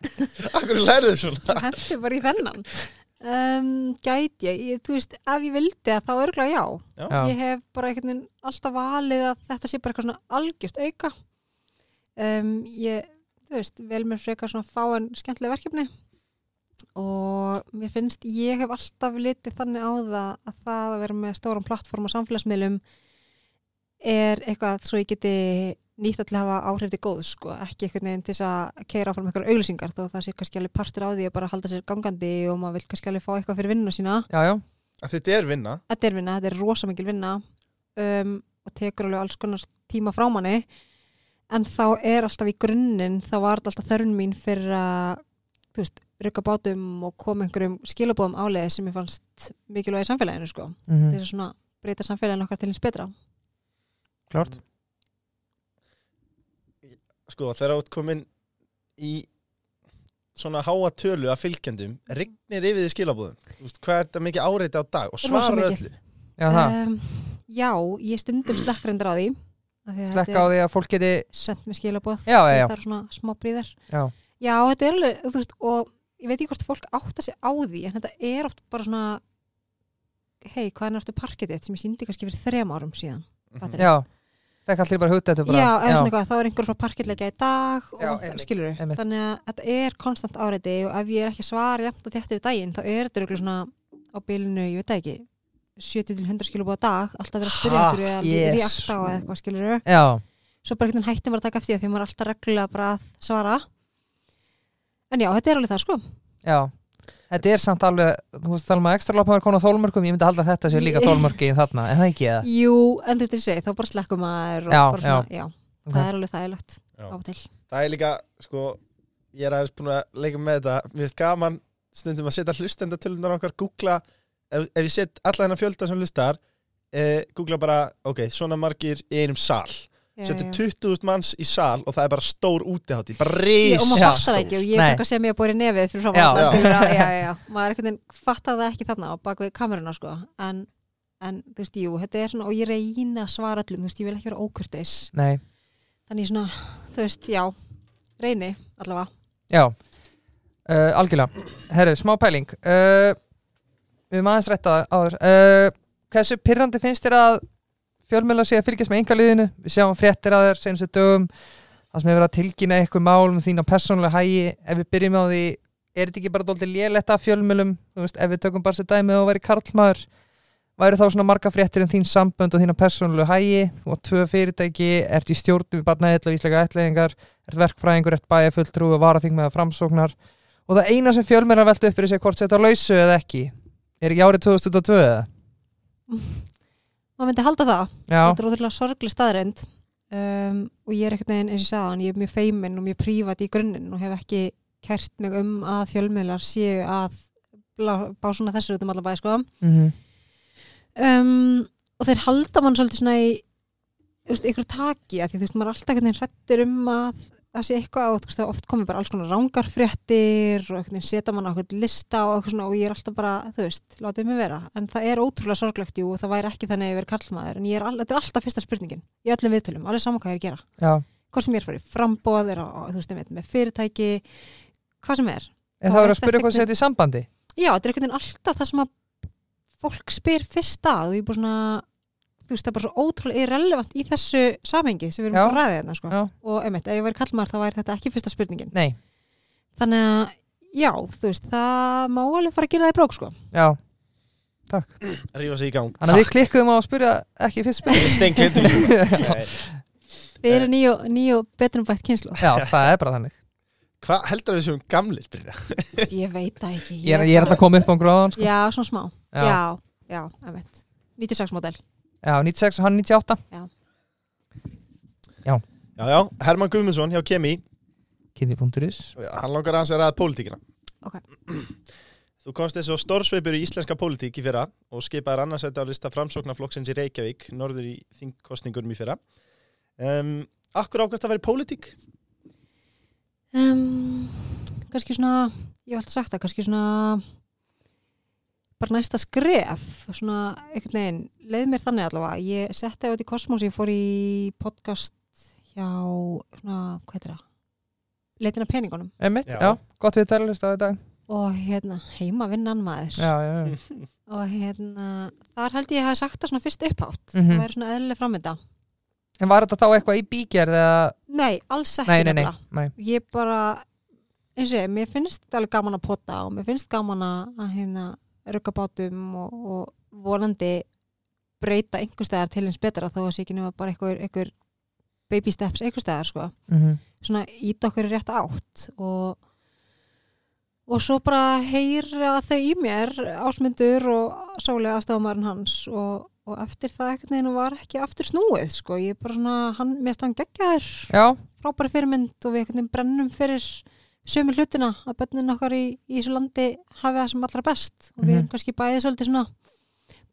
S2: Akkur lærið þið svona?
S4: Svo hendi bara í þennan. Um, gæti ég, ég, þú veist, ef ég vildi það, þá örgulega já.
S3: Já,
S4: Ég hef bara einhvern veginn alltaf valið að þetta sé bara eitthvað svona algjört auka. Um, ég, þú veist, vel mér frekar svona fá en skemmtileg verkefni og mér finnst ég hef alltaf litið þannig á það að það að vera með stóran plattform og samfélagsmiðlum er eitthvað svo ég geti nýtt að til að hafa áhrif til góð sko, ekki einhvern veginn til þess að keira áfram einhverja auglýsingar þó það sé kannski alveg partur á því að bara halda sér gangandi og maður vil kannski alveg fá eitthvað fyrir vinnuna sína
S3: já, já,
S2: Að þetta er vinna
S4: þetta er vinna, þetta er rosa mikil vinna um, og tekur alveg alls konar tíma frá manni en þá er alltaf í grunninn þá var þetta alltaf þörun mín fyrir að þú veist, rukka bátum og koma einhverjum skilabóðum álega sem ég fannst mikilvæg í samfélaginu sko
S3: mhm,
S4: til að svona breyta samfélaginu okkar til hins betra
S3: klárt
S2: Sko þegar átt komin í svona háa tölu af fylgjendum rignir yfir því skilabúðum Þú veist, Hvað er þetta mikið áreiti á dag? Og
S4: Rosa
S2: svara
S4: mikið.
S2: öllu
S3: Já, það,
S4: um, Já, ég stundum slekkrendar á því af því að
S3: slekka
S4: þetta
S3: á
S4: er
S3: því að fólk geti
S4: sent mér skilabóð
S3: Já, já, já,
S4: þetta er svona smá bríðar
S3: já,
S4: Já, þetta er alveg, þú veist, og ég veit ekki hvort fólk átta sig á því, en þetta er oft bara svona, hei, hvað er náttúrulega parkið þitt sem ég síndi kannski fyrir þrem árum síðan?
S2: Mhm.
S4: fattarðu?
S3: já Fekk allir bara hútt þetta bara
S4: já, eða svona eitthvað, þá er einhver frá parkiðleika í dag og
S3: Já,
S4: já,
S3: einmitt,
S4: skilur við.
S3: einmitt.
S4: Þannig að þetta er konstant áreiti og ef ég er ekki að svara jafnt og þetta við daginn, þá er þetta örugglega svona á bylinu, ég veit það ekki, 70 til 100 skilur búið á dag, alltaf verið að spyrja
S2: Ha,
S4: ykkur eða
S3: Jesú.
S4: reakta á eða eitthvað skilur við.
S3: Já,
S4: Svo bara einhvern veginn hættum bara að taka eftir því að því að maður er alltaf reglulega bara að svara. En já, þetta er alveg það sko.
S3: já Þetta er samt alveg, þú veist tala um að ekstra lappa er konu á þólmörkum, ég myndi halda að þetta sé líka
S4: Ég-
S3: þólmörki þarna, en það ekki eða
S4: Jú, en þú veist ég segi, þá bara slekkum maður og
S3: Já,
S4: bara svona, já,
S3: Ok.
S4: það er alveg þægilegt
S2: Já.
S4: af og til.
S2: Það er líka, sko ég er aðeins búin að leika með þetta Mér finnst gaman stundum að setja hlustendatölunar okkar Googla, ef, ef ég set alla hennar fjölda sem hlustar eh, Googla bara, ok, svona margir í einum sal
S4: Já,
S2: Setja
S4: já.
S2: 20.000 manns í sal og það er bara stór útihátti bara
S4: Ég- Og maður
S3: Já.
S4: fattar það ekki og ég er
S3: Nei.
S4: bara að segja mér að bóri nefið fyrir fram
S3: Já.
S2: Já.
S4: að það skilur að, já, já, já, maður er einhvern veginn fattar það ekki þarna á bak við kameruna, sko, en, en þú veist, jú, þetta er svona, og ég reyna að svara öllum, þú veist, ég vil ekki vera ókurteis,
S3: Nei,
S4: þannig svona, þú veist, já, reyni allavega.
S3: Já, uh, algjörlega Herru, smá pæling uh, Við erum aðeins rétta áður uh, Hversu pyrrandi finnst þér að fjölmjöla sé að fylgjast með yngaliðinu Við sjáum fréttir að þér senstu dögum Það sem hefur verið að tilkynna eitthvað mál um þína persónulega hægi Ef við byrjum á því Er þetta ekki bara dóltið léletta af fjölmjölum Þú veist, ef við tökum bara sér dæmið og væri karlmaður Væru þá svona marga fréttir um þín sambönd og þína persónulega hægi Þú átt tvö fyrirtæki, ert í stjórnum í barnaðið Íslega ætlegingar ert verkfræðingur, ert bæjarfulltrú og varaþing með framsóknar og það eina sem fjölmjörn velta upp er þessi hvort þetta á lausu eða ekki er ekki árið 2022 eða?
S4: Maður myndi halda það,
S3: Já,
S4: þetta er ótrúlega sorgli staðrend um, og ég er ekkert neginn eins og ég sagði hann, ég er mjög feiminn og mjög prívat í grunninn og hef ekki kært mig um að fjölmiðlar séu að blá, bá svona þessu út um allan bæ sko.
S3: mm
S4: um, og þeir halda mann svolítið svona í þú veist, ykkur taki að því þú veist, maður er alltaf hvernig hrættir um að það sé eitthvað og þú veist, það oft komið bara alls konar rángarfréttir og einhvern veginn setja mann á eitthvað lista og eitthvað svona og ég er alltaf bara, þú veist, látið mig vera en það er ótrúlega sorglegt jú og það væri ekki þannig að ég veri kallmaður en ég er all, þetta er alltaf fyrsta spurningin í öllum viðtölum, alveg saman hvað ég er að gera
S3: já.
S4: hvort sem ég er farið frambóð, er á, á- þú veist, einmitt með fyrirtæki hvað sem er.
S3: en
S4: Já,
S3: það verður að
S4: þetta
S3: spyrja
S4: er
S3: hvað
S4: ekki-
S3: þetta í sambandi
S4: Já, þetta er einhvern veginn alltaf það sem að fólk spyr fyrst að og ég er bara svona þú veist, það er bara svo ótrúlega irrelevant í þessu samhengi sem við erum
S3: Já.
S4: að ræða hérna, sko.
S3: Já.
S4: og einmitt, ef ég væri kallmaður þá væri þetta ekki fyrsta spurningin.
S3: Nei,
S4: Þannig að, já, þú veist, það má alveg fara að gera það í brók, sko.
S3: já,
S2: Rífa sig í gang
S3: þannig að við klikkuðum á að spyrja ekki fyrst spyrja
S2: Stenklindu
S4: Við erum nýju, nýju betrum bætt kynslu.
S3: Já, það er bara þannig
S2: Hvað heldur við séum gamlir, Brynja?
S4: ég veit það ekki.
S3: Ég er, ég er alltaf að koma upp á gróðan sko.
S4: Já, svona smá. Já,
S3: já.
S4: já, einmitt. 96 model.
S3: já, 96 og hann 98
S2: Já, já, Herman Guðmundsson hjá Kemi
S3: Kimi.is
S2: Hann langar aðeins að ræða pólitíkina
S4: Ok.
S2: Þú komst þessu stórsveipur í íslenska pólitík í fyrra og skipaðir annarsætti á lista framsóknarflokksins í Reykjavík, norður í þingkostningunum í fyrra um, Akkur ákvæmst að vera í pólitík?
S4: um, kannski svona ég hef alltaf sagt það, kannski svona bara næsta skref svona einhvern veginn leið mér þannig allavega, ég setti það út í kosmos ég fór í podcast hjá svona, hvað heitir það leitin að peningunum
S3: Einmitt,
S2: Já.
S3: já. gott við talalist á í dag
S4: og hérna heima vinnan maður
S3: Já, já, já,
S4: og hérna, þar held ég að hafa sagt það svona fyrst upphátt,
S3: Mhm.
S4: það væri svona eðlileg framönda
S3: En var þetta þá eitthvað í bíkjærð eða
S4: nei, alls ekki
S3: Nei, nei, nei,
S4: nefnilega.
S3: nei.
S4: ég bara eins og ég, mér finnst alveg gaman að pota og mér finnst gaman að að hérna rugga bátum og, og vonandi breyta einhver staðar til eins betra þó að sé ekki nema bara einhver, einhver baby steps einhver staðar sko
S3: Mhm.
S4: svona íta okkur í rétt átt og og svo bara heyra þau í mér ásmundur og sálega aðstafamærin hans og, og eftir það ekkert neginn var ekki aftur snúið sko, ég bara svona, hann, mér stann geggjaður
S3: Já,
S4: frábæri fyrirmynd og við einhvern veginn brennum fyrir sömu hlutina að bönnin okkar í, í þessu landi hafi það sem allra best og við
S3: Mhm.
S4: erum kannski bæðið svolítið svona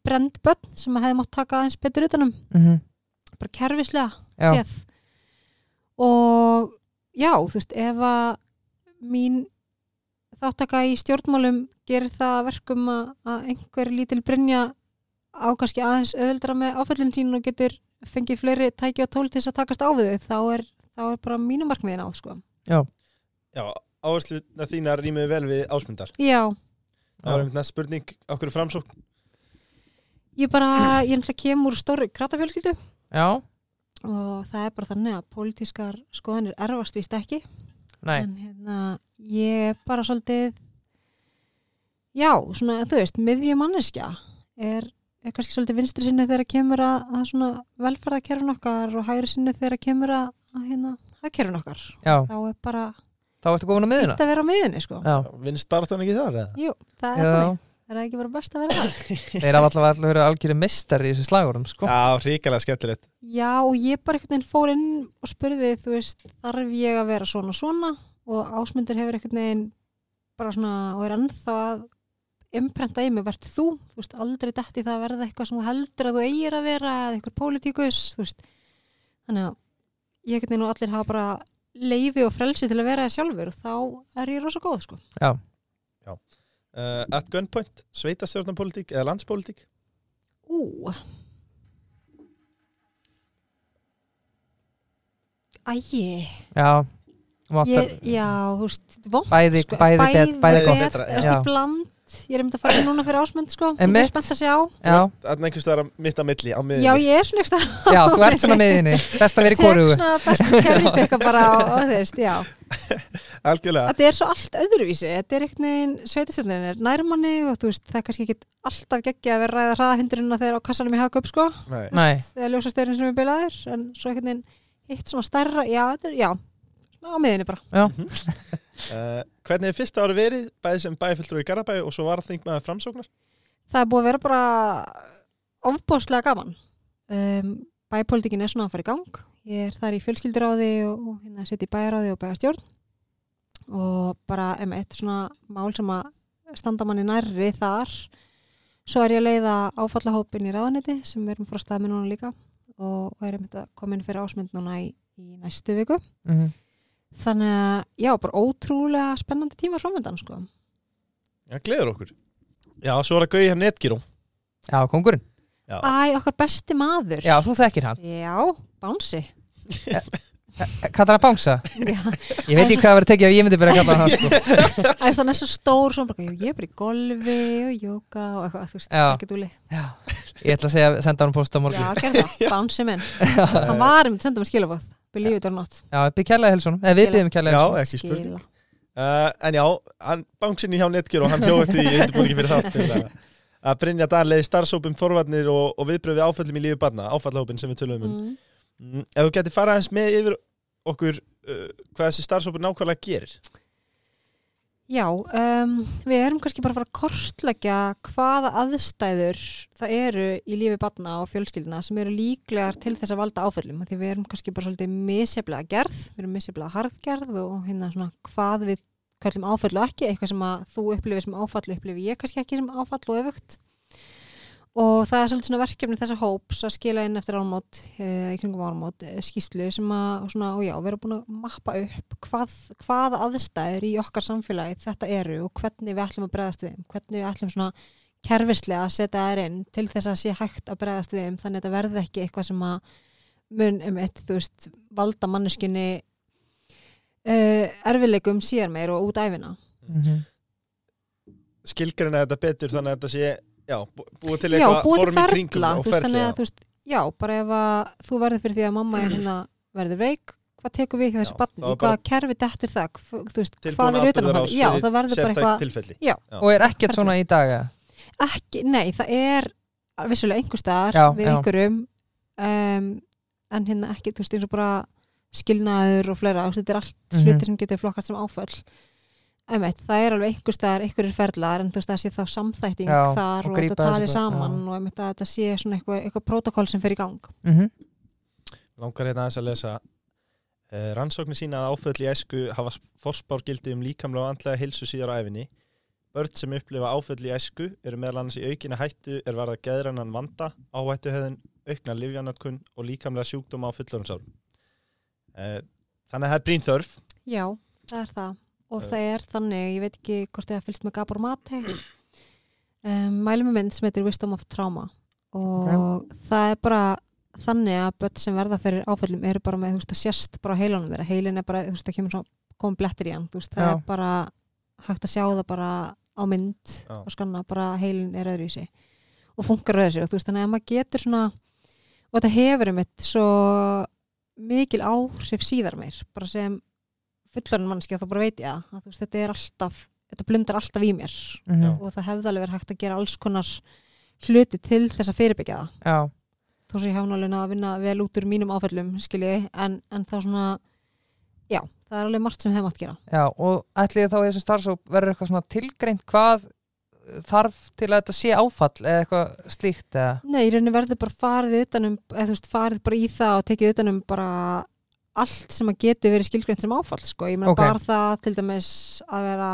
S4: brend bönn sem að hefði mátt taka aðeins betur utanum,
S3: mhm,
S4: bara kerfislega
S3: já,
S4: séð og já, þú veist, ef að mín þáttaka í stjórnmálum gerir það að verkum að, að einhver lítil brinja á kannski aðeins öðuldra með áföllin sín og getur fengið fleiri tæki og tól til þess að takast á við þau þá er, þá er bara mínu markmiðin á sko.
S2: Já, áhersluðna þínar rýmuðu vel við ásmundar.
S4: já,
S2: Það var einmitt næst spurning, okkur framsókn?
S4: ég bara ég náttúrulega kemur úr stóri kratafjölskyldu
S3: já,
S4: og það er bara þannig að pólitískar skoðanir erfast víst ekki
S3: nei
S4: en hérna, ég er bara svolítið já, svona þú veist, miðjum manneskja er, er kannski svolítið vinstri sinni þegar kemur að, að svona velferðakerfin okkar og hægri sinni þegar kemur að, að hérna, hagkerfin okkar
S3: Já,
S4: þá er bara
S3: þá ertu komin á miðuna
S4: þetta að vera á miðinni sko
S3: Já,
S2: Vinst baráttan ekki þar? eða?
S4: Jú, það er
S3: já,
S4: þannig, það er ekki bara best að vera það
S3: þeir hafa allavega allavega verið algjöri mistar í þessu slagurum, sko
S2: Já, ríkalega skemmtilegt.
S4: Já, og ég bara einhvern veginn fór inn og spurði, þú veist, þarf ég að vera svona svona og ásmundur hefur einhvern veginn bara svona og er ennþá að imprenta í mig verð þú, þú veist, aldrei dætti það að verða eitthvað sem þú heldur að þú eigir að vera eða eitthvað pólitíkus, þú veist þannig að ég einhvern veginn og allir hafa bara leifi og frelsi til að vera það sjálfur og þá er ég rosa góð, sko
S2: Uh, at gunpoint, sveitastjórnarpólitík eða landspólitík?
S4: Ú Æi
S3: Já, máttar
S4: ég, já, þú veist, vond
S3: Bæði-
S4: sko,
S3: bæði bet- bæði
S2: gott.
S4: betra,
S2: Já.
S4: þú veist, í bland ég er um að fara inn núna fyrir ásmönd sko, ég
S3: Einmitt.
S4: er spennt að sjá
S3: Já,
S2: Þannig einhvers staðar á- mitt á milli, á miðinni.
S4: já, ég er svona ekstra
S3: já, þú ert svona á miðunni Best að vera í korugu
S4: svona best cherrypicka bara og, og þú veist, já
S2: Algjörlega.
S4: þetta er svo allt öðruvísi, þetta er einhvern veginn sveitastöndin er nærmanni og þú veist, það er kannski ekki alltaf geggja að vera að ræða hraðahindurinn þegar á kassanum í haka upp sko,
S2: Nei.
S3: Nei,
S4: það er ljósastöðurinn sem er bilaðir en svo einhvern veginn hitt svona stærra, já, þetta er, já á miðinni bara,
S2: Uh, hvernig er fyrsta ári verið, bæði sem bæfylltrú í Garabæi og svo varþingmaður framsóknar?
S4: það er búið að vera bara ofbóðslega gaman um, bæpolítikin er svona að fara í gang ég er þar í fjölskylduráði og, og hérna sitt í bæjaráði og bæjarstjórn og bara um eitt svona mál sem að standa manni nærri þar svo er ég að leiða áfallahópin í ráðaneti sem við erum frá stað með núna líka og, og erum þetta komin fyrir ásmynd núna í, í næstu viku
S3: mhm,
S4: þannig að já, bara ótrúlega spennandi tíma framöndan sko
S2: Já, gleður okkur. Já, svo er að gauja netgírum.
S3: já, kongurinn
S2: Já,
S4: Æ, okkar besti maður
S3: Já, þú þekkir hann
S4: já bánsi
S3: Kallar hann bánsa?
S4: Já,
S3: Ég veit ekki hvað það verið tekið ef ég myndi byrja að kalla hann það, sko
S4: æst, hann er svo stór svona, bara, ég er bara í golfi og jóka og eitthvað, þú veist,
S3: Já.
S4: ekki dúli
S3: Já, ég ætla að segja, senda hann post á
S4: Já,
S3: morgun
S4: gerð það, bánsi minn Hann var um, senda mér skilabóð, believe it or not
S3: Já, byrja kærlega helsónum, eða við
S4: Skila.
S3: byrjum
S2: já
S3: kærlega helsónum
S4: sko.
S2: ekki spurning.
S4: Skila.
S2: Uh, en já, hann bánsinni hjá Netgear og hann hjóði því í undirbúningi fyrir þátt að Brynja Dan leiði starfsópum forvarnir og, og viðbröfi áföllum í lífi barna áfallahópin sem við tölum um
S4: Mm.
S2: mm. Ef þú getur farað eins með yfir okkur uh, hvað þessi starfsópur nákvæmlega gerir
S4: Já, um, við erum kannski bara að fara að kortleggja hvaða aðstæður það eru í lífi barna og fjölskyldina sem eru líklegar til þess að valda áföllum af því við erum kannski bara svolítið misjaflega gerð við erum misjaflega harðgerð og hérna svona hvað við kallum áföll og ekki eitthvað sem að þú upplifir sem áfall upplifir ég kannski ekki sem áfall og öfugt og það er svolítið svona verkefni þessa hóps að skila inn eftir ármót eh, í kringum ármót eh, skýslu sem að og svona, og já, við erum búin að mappa upp hvað, hvað aðstæður í okkar samfélagi þetta eru og hvernig við ætlum að bregðast við þeim, hvernig við ætlum svona kerfislega að setja þær inn til þess að sé hægt að bregðast við þeim þannig að þetta verði ekki eitthvað sem að mun um eitt, þú veist, valda manneskinni uh, erfileikum síðar meir og út æfina
S3: mm -hmm.
S2: skilgreina þetta betur þannig að þetta sé já, bú- búið til
S4: Já,
S2: eitthvað
S4: búið til
S2: form í kringum
S4: ferla,
S2: og
S4: þú veist, þannig
S2: ferla
S4: að þú veist, já, bara ef að þú verður fyrir því að mamma er hérna verður veik, hvað tekur við hjá þessu
S2: Já,
S4: barni,
S2: það var
S4: í hvaða kerfi dettur það, Hv- þú veist, hvað
S2: tilbúin
S4: er utan á
S2: aðbyrðar á
S4: hann, já, það verður bara eitthvað,
S2: tilfelli
S3: og er ekkert svona í dag eða?
S4: ekki, nei, það er vissulega einhver staðar
S3: Já,
S4: við
S3: já.
S4: einhverjum, um, en hérna ekki, þú veist, eins og bara skilnaður og fleira, þú veist, þetta er allt
S3: Mhm.
S4: hluti sem getur flokkast sem áföll. Einmitt, það er alveg einhver staðar, einhverjir ferlar en þú veist það sé þá samþætting
S3: Já,
S4: þar
S3: og
S4: og,
S3: grípa
S4: þetta
S3: þessu
S4: tali
S3: bara,
S4: saman
S3: já.
S4: og einmitt að þetta sé svona eitthvað, eitthvað protokól sem fer í gang
S3: Mhm.
S2: langar hérna aðeins að lesa eh, rannsóknir sína að áföll í æsku hafa forspárgildi um líkamlega og andlega hilsu síðar á æfinni börn sem upplifa áföll í æsku eru meðal annars í aukinni hættu er varða geðrannan vanda, áhættuhöðun aukna livjarnatkun og líkamlega sjúkdóma á fullorðinsárum eh, þannig að það er brín þörf
S4: Já, það er það og
S2: Já.
S4: það er þannig, ég veit ekki hvort það fylgst með Gabor Mate um, mælum með mynd sem heitir Wisdom of Trauma og það er bara þannig að börn sem verða fyrir áföllum eru bara með, þú veist, að sérst bara á heilanum þeirra, heilin er bara, þú veist, það kemur svona komum blettir í hann, þú veist, það
S3: Já.
S4: er bara hægt að sjá það bara á mynd
S2: Já.
S4: og skanna bara að heilin er öðru í sig og funkar öðru í sig og þú veist, þannig að maður getur svona og þetta hefur um eitt svo mikil áhrif síðar meir bara sem fullorinn mannski þá bara veit ég það að þú veist, þetta er alltaf þetta blundar alltaf í mér
S3: Mhm.
S2: Já.
S4: og það hefði alveg verið hægt að gera alls konar hluti til þess að fyrirbyggja það
S3: Já.
S4: þó sem ég hef nálega náð að vinna vel út úr mínum áfællum skilji, en, en þá svona já, það er alveg margt sem þeim átt gera
S3: Já, og ætliði þá í þessum starfsóp verður eitthvað svona tilgreint hvað þarf til að þetta sé áfall eða eitthvað slíkt eða
S4: Nei, í rauninni verður bara farið utanum eða þú veist, farið bara í það og tekið utanum bara allt sem að getur verið skilgreint sem áfall, sko, ég meina
S3: Ok.
S4: bara það til dæmis að vera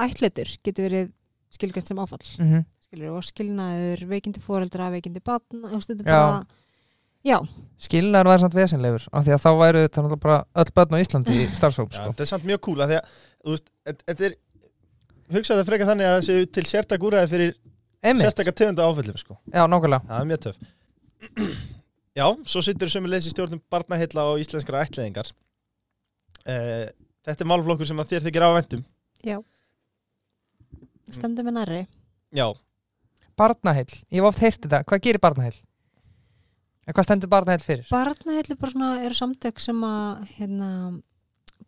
S4: ætletur getur verið skilgreint sem áfall
S3: mm
S2: Mhm.
S3: -hmm.
S4: skilur, og skilnaður, veikindi fóreldra, veikindi batna, þú veist, þetta er
S3: Já.
S4: bara já,
S3: skilnaður væri samt vesenlegur af því að þá væru þetta náttúrulega bara öll börn á Íslandi í starfsóp
S2: Já,
S3: sko.
S2: þetta er samt mjög cool að því að, þú veist, þetta- þetta er hugsaðu það frekar þannig að það séu til sértak úræði fyrir
S3: Einmitt,
S2: sértaka tegunda áföllum sko.
S3: já, nákvæmlega
S2: það er mjög töf Já, svo sittur sömu leysi stjórnum barnaheilla og íslenskra ætliðingar eh, Þetta er málflokkur sem að þér þykir um. ávendum
S3: Mm.
S4: stendur með nærri
S2: Já,
S3: Barnaheill, ég var oft heyrt þetta, hvað gerir barnaheill? Eða hvað stendur barnaheill fyrir?
S4: Barnaheillu bara svona eru samtök sem að hérna,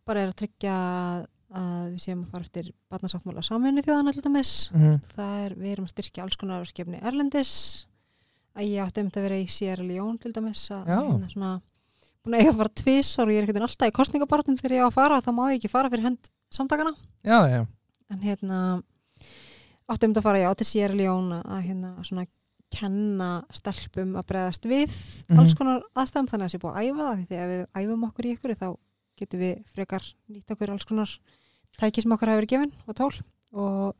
S4: bara er að tryggja að- að við séum að fara eftir barnasáttmála samvinni þjóðan alltaf mess
S3: Mm
S4: það er, við erum að styrkja alls konar verkefni erlendis að ég átti um þetta að vera í Sierra Leone til dæmis að
S3: Já.
S4: hérna svona búin að eiga bara tvisvar og ég er ekkert alltaf í kostningabarnum þegar ég á að fara þá má ég ekki fara fyrir hend samtakana
S3: Já, já,
S4: en hérna átti um þetta að fara, já, til Sierra Leone að hérna svona kenna stelpum að bregðast við
S3: Mhm.
S4: alls konar aðstæðum þannig að sé búið að æfa það því að ef við æfum okkur í ykkur þá getum við frekar nýtt okkur alls konar tæki sem okkur hafa verið gefin og tól og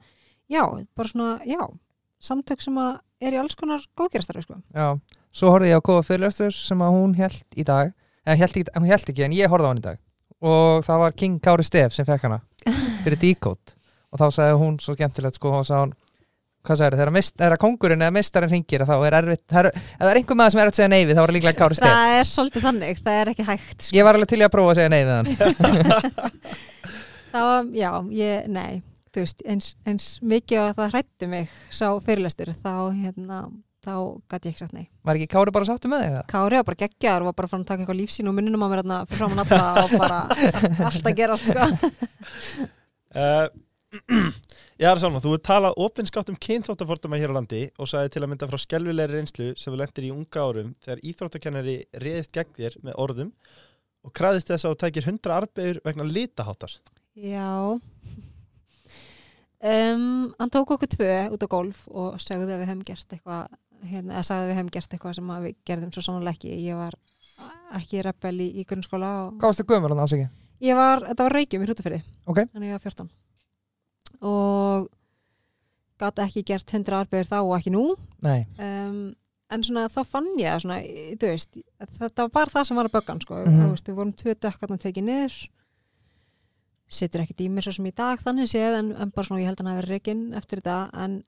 S4: já, bara svona, já samtök sem að er í alls konar góðgerastar sko.
S3: já Svo horfði ég á Kóða Fyrirlöstur sem að hún held í dag en held ekki, hún held ekki, en ég horfði á hann í dag og það var King Kári Stef sem fekk hana fyrir Decode og þá sagði hún svo skemmtilegt sko, þá sagði hún hvað sagði þegar mist, þegar kongurinn eða mistarinn hringir að þá er erfitt, það er, ef það er einhver maður sem er erfitt að segja neyfi þá var það líklega Kári Stef
S4: það er svolítið þannig, það er ekki hægt sko.
S3: ég var alveg til í að prófa að segja neyfi þann
S4: það var, já, ég, nei þú veist, eins, eins mikið að það hrættu mig sá fyrirlestur, þá hérna, þá gæti ég ekki sagt nei
S3: var ekki Kári bara sáttu með því það?
S4: Kári var bara geggjaður og var bara fann að taka eitthvað lífsín og mununum á mér þarna fyrir framan alla og bara allt að gerast sko.
S2: uh, Já, Salma, þú hefur talað opinskátt um kynþóttafordama hér á landi og sagði til að mynda frá skelvilegri reynslu sem þú lendir í unga árum þegar íþróttakennari reyðist gegn þér með orðum og kræðist þess að þú tækir hundra arbegur vegna litaháttar
S4: Já um, Hann tók okkur tvö út á golf og sagði að við hefum gert eitthvað hérna, eða sagði að við hefum gert eitthvað sem að við gerðum svo sannlega ekki ég var ekki rebel í, í grunnskóla og
S3: Hvað varstu gömur hann ásiki?
S4: ég var, þetta var reykjum í hrútafyrði
S3: Ok.
S4: þannig ég var 14 og gat ekki gert 100 arbegur þá og ekki nú
S3: Nei,
S4: um, en svona þá fann ég að svona, í- þú veist, að þetta var bara það sem var að böggan sko,
S3: Mhm.
S4: þú veist, við vorum tvö dökkarnar tekið niður situr ekkert í mér svo sem í dag þannig séð en, en bara svona ég held að hann hafi verið reikinn eftir þetta en,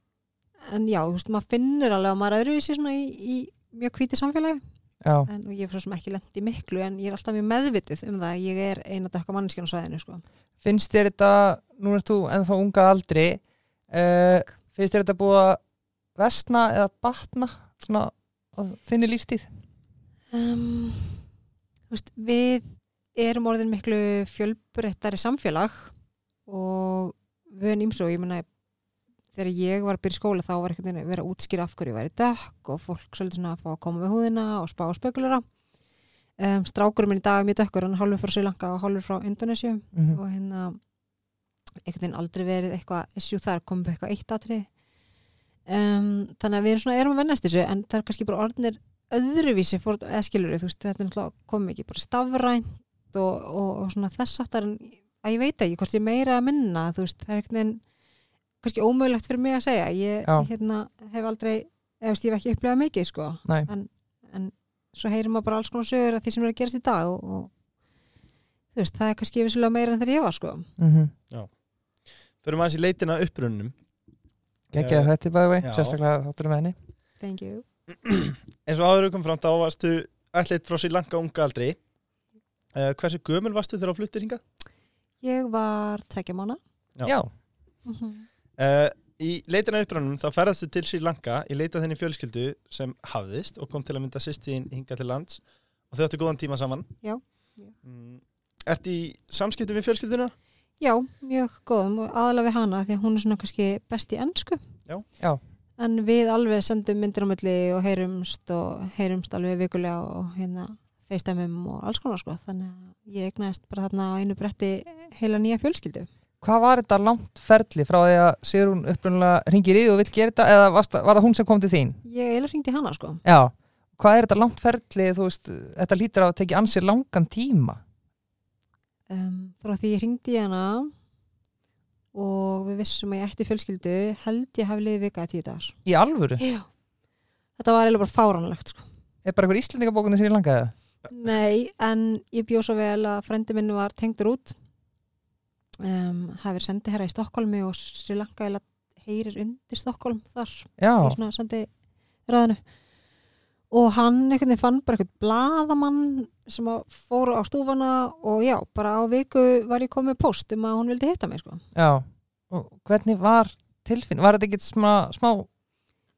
S4: en já, þú veist, maður finnur alveg að maður er öðruvísi svona í, í mjög hvíti samfélagi
S3: já,
S4: en og ég er svo sem ekki lent í miklu en ég er alltaf mjög meðvitið um það að ég er eina dökka manneskjan á svæðinu sko.
S3: finnst þér þetta nú er þú ennþá unga að aldri uh, finnst þér þetta búið að vestna eða batna svona á þinni lífstíð
S4: um, þú veist, við erum orðin miklu fjölbreyttari samfélag og vön ímsu og ég meina þegar ég var að byrja í skóla þá var eitthvað verið að útskýra af hverju ég væri dökk og fólk svolítið svona að fá að koma við húðina og spá og spekulera um, strákurinn minn í dag er mjög dökkur hann er hálfur frá Sri Lanka og hálfur frá Indonesia
S3: mm
S4: og hérna einhvern veginn aldrei verið eitthvað issue þar komum við eitthvað eitt atrið um, þannig að við erum svona erum að vennast þessu en það er kannski bara orðinir öðruvísi fór, eða skilur þú veist, þetta er náttúrulega komið ekki bara stafrænt og, og, og svona þess aftar en að ég veit ekki hvort ég meira að minna þú veist, það er einhvern veginn kannski ómögulegt fyrir mig að segja ég
S3: Já.
S4: hérna, hef aldrei, eða þú veist, ég hef ekki upplegað mikið sko,
S3: Nei.
S4: en, en svo heyrir maður bara alls konar sögur að því sem er að gerast í dag og, og þú veist, það er kannski vissulega meira en þegar ég var sko
S3: -hmm.
S2: Förum aðeins í leitina að upprunninum
S3: Gekki
S2: Eh,
S3: þetta by the way,
S2: já.
S3: sérstaklega þáttur með henni
S4: Thank you
S2: eins og áður við kom fram þá varstu ætlið frá sér langa unga aldrei uh, hversu gömul varstu þegar þú fluttir hingað?
S4: Ég var tvekja mána
S2: Já.
S3: Já,
S2: Uh, í leitina upprannum þá ferðastu til Sri Lanka í leita þenni fjölskyldu sem hafðist og kom til að mynda sýstin hingað til lands og þau áttu góðan tíma saman
S4: Já.
S2: mm, Ertu í samskiptum við fjölskylduna?
S4: Já, mjög góðum og aðalega við hana því að hún er svona kannski best í ennsku
S2: Já.
S3: Já.
S4: En við alveg sendum myndir á milli og heyrumst og heyrumst alveg vikulega og hérna feistæmum og alls konar sko þannig að ég egnaðist bara þarna á einu bretti heila nýja fjölskyldu
S3: hvað var þetta langt ferli frá því að Sigrún upprunnulega ringir í þig og vill gera þetta eða varst, var það hún sem kom til þín?
S4: Ég eila hringdi í hana sko
S3: Já, hvað er þetta langt ferli þú veist, þetta lítur á að teki ansið langan tíma
S4: um, frá því ég hringdi í hana og við vissum að ég ætti fjölskyldu held ég hafi liðið vika að tíu dagar
S3: í alvöru,
S4: Já. Þetta var eiginlega bara fáránlegt sko
S3: er bara einhver íslendingabókunni sér í langa eða?
S4: Nei, en ég bjó svo vel að frendi minn var tengdur út um, hafi verið sendi herra í Stokkólmi og Sri Lanka eða heyrir undir Stokkólm þar
S3: Já,
S4: í svona sendi ræðinu og hann einhvern veginn fann bara einhvern blaðamann sem að fóru á stúfana og já, bara á viku var ég komið post um að hún vildi hitta mig sko.
S3: já og hvernig var tilfinn, var þetta ekkert smá, smá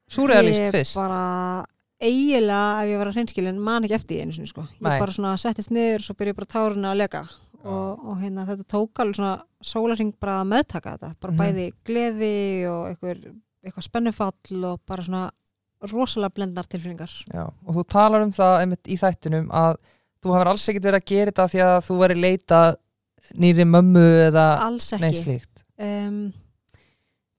S3: súrealist fyrst?
S4: Ég bara eiginlega ef ég var að hreinskilin man ekki eftir því einu sinni sko. Ég
S3: Nei.
S4: bara svona settist niður svo byrja bara táruna að leka
S2: Já.
S4: og, og hérna þetta tók alveg svona sólarhing bara að meðtaka þetta. Bara
S3: Mhm.
S4: bæði gleði og einhver, eitthvað spennufall og bara svona rosalega blendnar tilfinningar.
S3: Já, og þú talar um það einmitt í þættinum að þú hefur alls ekkert verið að gera þetta af því að þú verið leita nýri mömmu eða
S4: Alls
S3: neitt
S4: ekki.
S3: slíkt.
S4: Um,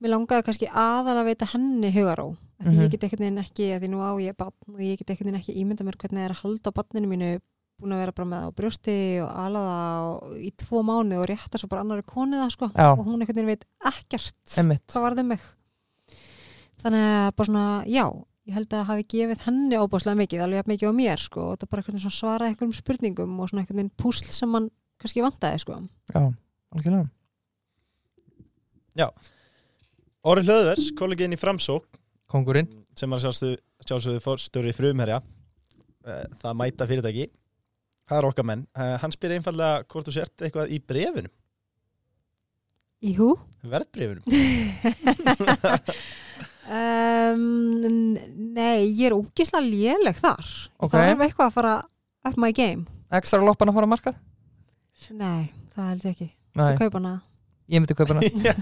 S4: mér langaði kannski aðal að veita henni hugaró. Af Því
S3: Mhm.
S4: ég get ekkert neginn ekki, af því nú á ég barn og ég get ekkert neginn ekki ímynda mér hvernig það er að halda barninu mínu búin að vera bara með það á brjósti og alaða og í tvo mánu og rétta svo bara annari konu það sko
S3: Já.
S4: og hún einhvern veginn veit ekkert
S3: Einmitt.
S4: hvað varði mig þannig að bara svona, já ég held að það hafi gefið henni óbáslega mikið alveg jafn mikið á mér sko og það bara einhvern veginn svona svaraði einhverjum spurningum og svona einhvern veginn púsl sem mann kannski vantaði sko
S3: Já, algjörlega.
S2: Orri Hlöðvers, kollegin í Framsók
S3: Kongurinn.
S2: sem að sjálfsögðu, sjálfsögðu fórstjóri frumherja uh, það mæta fyrirtæki það er okkar menn uh, hann spyr einfallega hvort þú sért eitthvað í brefinum
S4: í hú
S2: verðbrefinum
S4: um, n- Nei, ég er ógislega léleg þar
S3: Ok.
S4: Það er eitthvað að fara up my game
S3: Ekstra loppan að fara að markað?
S4: Nei, það held ég ekki
S3: Nei,
S4: Ég kaupa hana
S3: ég myndi kaupa hana.
S2: Já.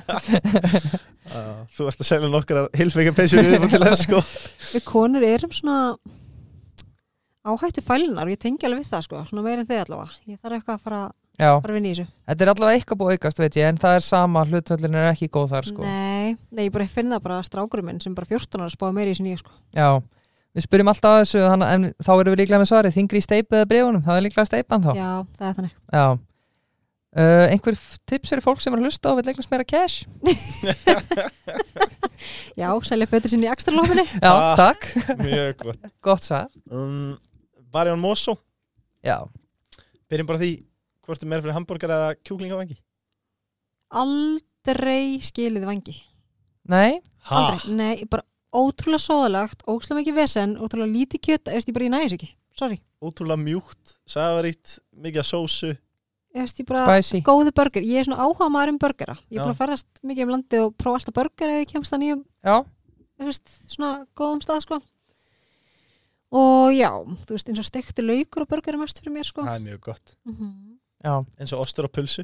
S2: Uh, þú ert að selja nokkrar hilfveika peysjur yfir til þess sko
S4: Við konur erum svona áhættu fælinar og ég tengi alveg við það sko svona meir en þið allavega Ég þarf eitthvað að fara,
S3: Já,
S4: fara að vinna í þessu
S3: þetta er allavega eitthvað búið að aukast, veit ég, en það er sama, hlutvöldin er ekki góð þar, sko.
S4: nei, nei, ég bara finn það bara að strákurinn minn sem bara 14 ára spáði meira í þessu nýja sko
S3: Já, við spyrjum alltaf að þessu, þannig, en þá erum við líklega með svarið, þingri í steipu eða brefunum, það er líklega steipan þá.
S4: Já, það er þannig
S3: Já. Uh, einhver f- tips fyrir fólk sem er að hlusta og vil leiknast meira cash?
S4: Já, selja fötur sinni í ekstra lófinni.
S3: Já,
S2: Ah.
S3: takk,
S2: Mjög gott
S3: gott svar
S2: um, Varjón Mosó,
S3: Já,
S2: byrjum bara á því Hvort er meira fyrir hambúrgar eða kjúklingavangi?
S4: Aldrei skilið vangi.
S3: nei,
S4: Aldrei. Nei, bara ótrúlega sóðalagt, ótrúlega mikið vesen, ótrúlega lítið kjöt, eftir ég bara ég næði þessu ekki. Sorry.
S2: Ótrúlega mjúkt, safaríkt, mikið af sósu
S4: Eftir ég bara
S3: spicy
S4: góðu burger. Ég er svona áhuga maður um burgera. Ég er
S2: Já.
S4: búin að ferðast mikið um landið og prófa alltaf burger ef ég kemst að nýjum
S3: Já,
S4: þú veist, svona góðum stað sko. og já, þú veist eins og stektu laukur og burger er mest fyrir mér sko.
S2: Það er mjög gott
S4: mm
S3: já,
S2: Eins og ostur og pulsu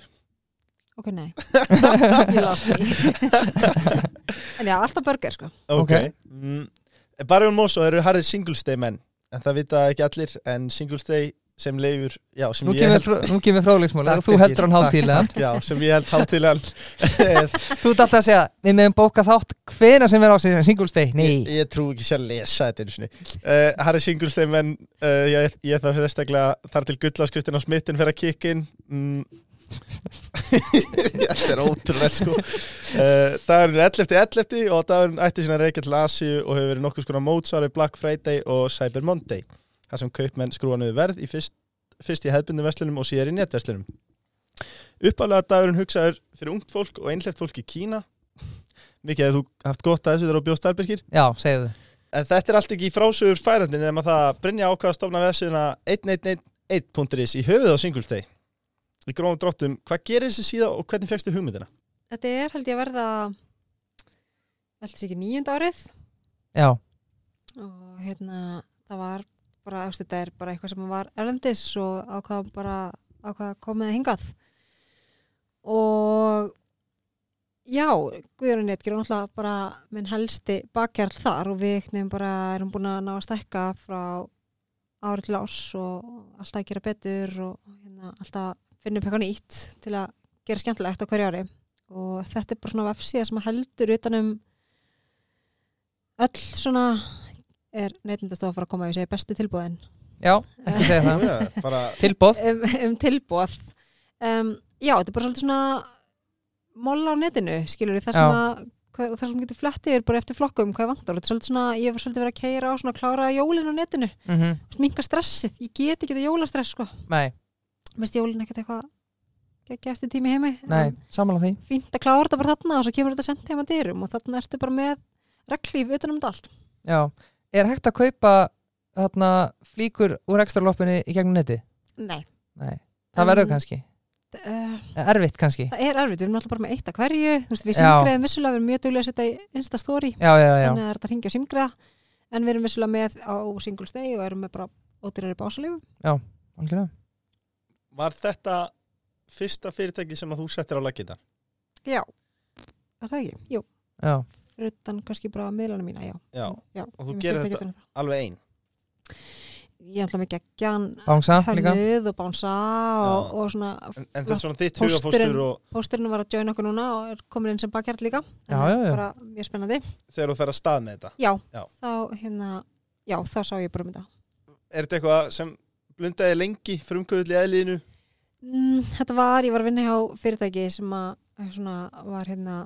S4: ok, nei ég las því en já, alltaf burger sko.
S2: Ok,
S3: Ok.
S2: Mm, Barjón Mosó eru harðið single stay menn En það vita ekki allir En single stay sem leifur Já, sem
S3: nú
S2: ég
S3: kemur,
S2: held
S3: fró, nú kemur fróðleiksmóla
S2: Takk,
S3: Þú
S2: Birgir.
S3: heldur hann hátíðlegan
S2: Já, sem ég held hátilegan
S3: Þú ert alltaf að segja, við meðum bóka þátt hvena sem er á sig, single stay,
S2: ég,
S3: nei
S2: ég trú ekki sér að lesa þetta einu sinni uh, Harry Singulstein menn uh, ég, ég þarf sérstaklega þar til gullaskriftin á smittin fyrir að kikka inn mm. Þetta er ótrúlegt sko uh, Dagurinn er 11. 11. og dagurinn ætti sína reykja til Asíu og hefur verið nokkuð skona mótsvar við Black Friday og Cyber Monday þar sem kaupmenn skrúa niður verð í fyrst, fyrst í hefðbundum verslunum og síðar í netverslunum Uppalega dagurinn hugsaður fyrir ungt fólk og einhleift fólk í Kína Mikið að þú haft gott að þessu þegar á bjóst Arbyrgir
S3: Já, segðu
S2: En þetta er allt ekki í frásögur færandin nema það að Brynja ákvað að stofna vefsíðuna 1111.is í höfuð á Singulsteg. Í grófum dráttum, hvað gerir þessi síða og hvernig fegstu hugmyndina?
S4: þetta er held ég að verða ætlis ekki nýjunda árið
S3: Já,
S4: og hérna, það var bara, þú veist, þetta er bara eitthvað sem var erlendis og ákvað bara ákvað að koma það hingað og já, Guðjörn Netger er náttúrulega bara minn helsti bakkjarl þar og við nefnum bara erum búin að ná að stækka frá ári til árs og alltaf að gera betur og hérna, alltaf að finna upp eitthvað nýtt til að gera skemmtilegt á hverju ári og þetta er bara svona vefsíða sem heldur utanum öll svona er neytendastofa að fara að koma að segja bestu tilbúðin
S3: já, ekki segja það
S2: já, bara...
S3: Tilbóð,
S4: um, um tilbúð um, já, þetta er bara svolítið svona molla á netinu, skilur við það sem,
S3: Já.
S4: að, hver, það sem getur flettið er bara eftir flokkum hvað vantar, þetta er svolítið svona ég var svolítið verið að keira á svona að klára jólin á netinu
S3: mm
S4: minga stressið, ég get ekki þetta jólastress sko,
S3: nei,
S4: mest jólin ekkert eitthvað ekki eftir tími heimi
S3: nei, samanlega því
S4: fínt að klára þetta bara þarna og svo kemur þetta sent heima dyrum og þarna ertu bara með reglíf utanum þetta allt
S3: Já, er hægt að kaupa þarna flíkur úr ekstra loppinni í gegnum neti?
S4: Nei,
S3: Nei, það
S4: En-
S3: verður kannski
S4: uh,
S3: Erfitt kannski
S4: það er erfitt, við erum alltaf bara með eitt að hverju þú veist, við
S3: Já.
S4: simgreðum vissulega, við erum mjög duglega að setja í insta story,
S3: Já, já, já,
S4: þannig að það er þetta hringja og simgreða en við erum vissulega með á single stay og erum með bara ódýrari básalífu
S3: algjörlega
S2: Var þetta fyrsta fyrirtæki sem að þú settir á laggita?
S4: já, er það ekki? Jú,
S3: Já,
S4: fyrir utan kannski bara miðlana mína, já,
S2: Já,
S4: já
S2: þú gerir þetta- alveg einn.
S4: ég ætla mig geggjan
S3: bánsa líka
S4: hönnuð og bánsa og,
S2: Já.
S4: og svona
S2: En, en þetta er svona þitt
S4: Pósturinn.
S2: hugafóstur og
S4: pósturinn var að joina okkur núna og er komin inn sem bakkjart líka
S3: Já,
S4: Þannig
S3: já, já.
S4: bara mjög spennandi
S2: þegar þú fer að stað með þetta.
S4: já,
S2: Já.
S4: þá hérna já, þá sá ég bara um þetta
S2: Er þetta eitthvað sem blundaði lengi frumkvöðli eðliðinu?
S4: Mm, þetta var, ég var að vinna hjá fyrirtæki sem að svona, var hérna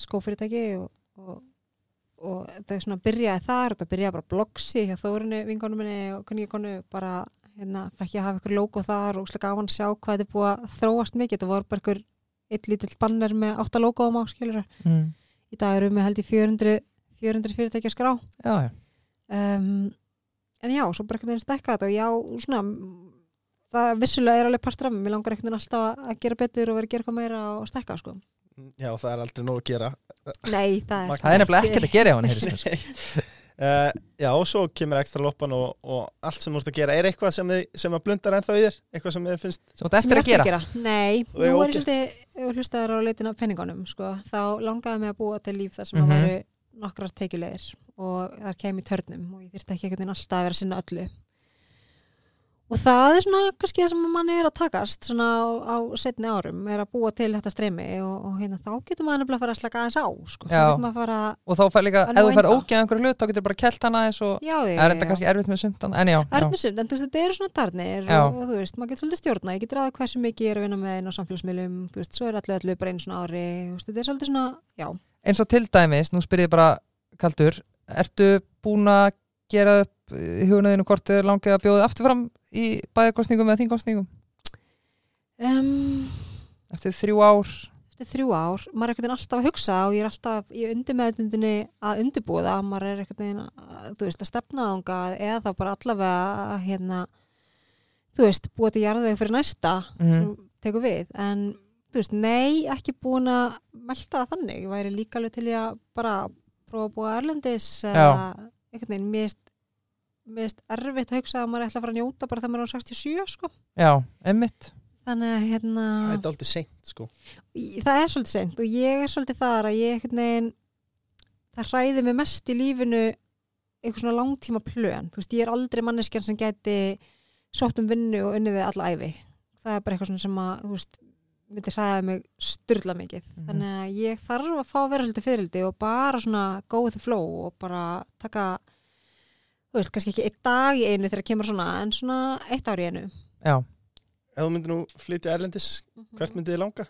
S4: skófyrirtæki og, og, og þetta er svona byrjaði þar, þetta byrjaði bara blogsi hjá Þórinu, vinkonu minni og kunningikonu bara hérna, fekk ég að hafa ykkur logo þar og úslega gaman að sjá hvað þetta er búið að þróast mikið, þetta voru bara ykkur eitt lítill banner með átta logoum á skilur
S3: mm.
S4: í dag eru með held í 400, 400 fyrirtæki að skrá
S3: Já, já,
S4: um, en já, svo bara einhvern veginn stekka þetta og já, svona mm, það vissulega er alveg partur af mér, mér langar einhvern veginn alltaf að gera betur og vera að gera eitthvað meira og stekka sko.
S2: Já, það er aldrei nóg að gera.
S4: Nei, það
S2: Magnað.
S4: er
S3: það er nefnilega ekkert að gera á hann heyrðist mér, sko.
S2: Uh, já, og svo kemur ekstra loppan og, og allt sem þú ert að gera. Er eitthvað sem, þið, sem að blundar ennþá í þér? Eitthvað sem þér finnst
S3: Svo þetta eftir að gera
S4: Nei,
S2: Og eiga
S4: nú er ég
S2: ógert.
S4: svolítið hlustaður á leitin af peningunum sko. þá langaði mig að búa til líf þar sem
S3: Mhm.
S4: það væru nokkrar tekjulegir og þar kem í törnum og ég þyrfti ekki einhvern veginn alltaf að vera að sinna öllu og það er svona kannski það sem mann er að takast svona á, á setni árum er að búa til þetta streymi og, og hérna, þá getur maður nefnilega að fara að slaka aðeins á sko.
S3: Já.
S4: þá getur maður að fara að
S3: Og þá fær líka,
S4: Að
S3: ef þú fær
S4: nænda.
S3: ógeð einhverju hlut, þá getur bara kelt hana eins og
S4: já,
S3: Það er þetta kannski erfitt með sumt annað, En já, já.
S4: Erfnisund, en þú veist, þetta eru svona tarnir
S3: Já.
S4: og, og þú veist, maður getur svolítið stjórna, ég getur aðeins hversu mikið ég er að vinna með einn á samfélagsmiðlum, þú veist, svo er allir allir bara einu svona ári, þú veist, þetta er svolítið svona, já,
S3: eins og til dæmis, nú spyr ég bara Kaldur, ertu búin að gera upp hugunæðinu hvort þið langið að bjóða afturfram í bæðakostningum eða þingkostningum
S4: um,
S3: eftir þrjú ár
S4: eftir þrjú ár, maður er einhvern veginn alltaf að hugsa og ég er alltaf í undirmeðundinni að undirbúa það, maður er einhvern veginn að, þú veist, að stefna þanga eða þá bara allavega að, hérna, þú veist, búa til jarðveg fyrir næsta
S3: mm.
S4: sem tekur við, en þú veist, nei, ekki búin að melta það þannig, ég væri líka alveg til ég að bara prófa að búa erlendis eða einhvern veginn, mér finnst- mér finnst erfitt að hugsa að maður ætla að fara að njóta bara þegar maður er á 67, sko
S3: Já, emmitt
S4: þannig að hérna
S3: Ah.
S2: Þetta er aldrei seint sko
S4: Í- það er svolítið sent og ég er svolítið þar að ég einhvern veginn það hræði mig mest í lífinu einhver svona langtíma plön þú veist, ég er aldrei manneskjan sem gæti sótt um vinnu og unnið við alla æfi það er bara eitthvað svona sem að þú veist, myndi hræða mig styrla mikið
S3: Mhm.
S4: þannig að ég þarf að fá að vera svolítið fyrirldi og bara svona go with the flow og bara taka þú veist, kannski ekki eitt dag í einu þegar kemur svona, en svona eitt ár í einu
S3: Já,
S2: Ef þú myndir nú flytja erlendis, hvert myndið þið langa?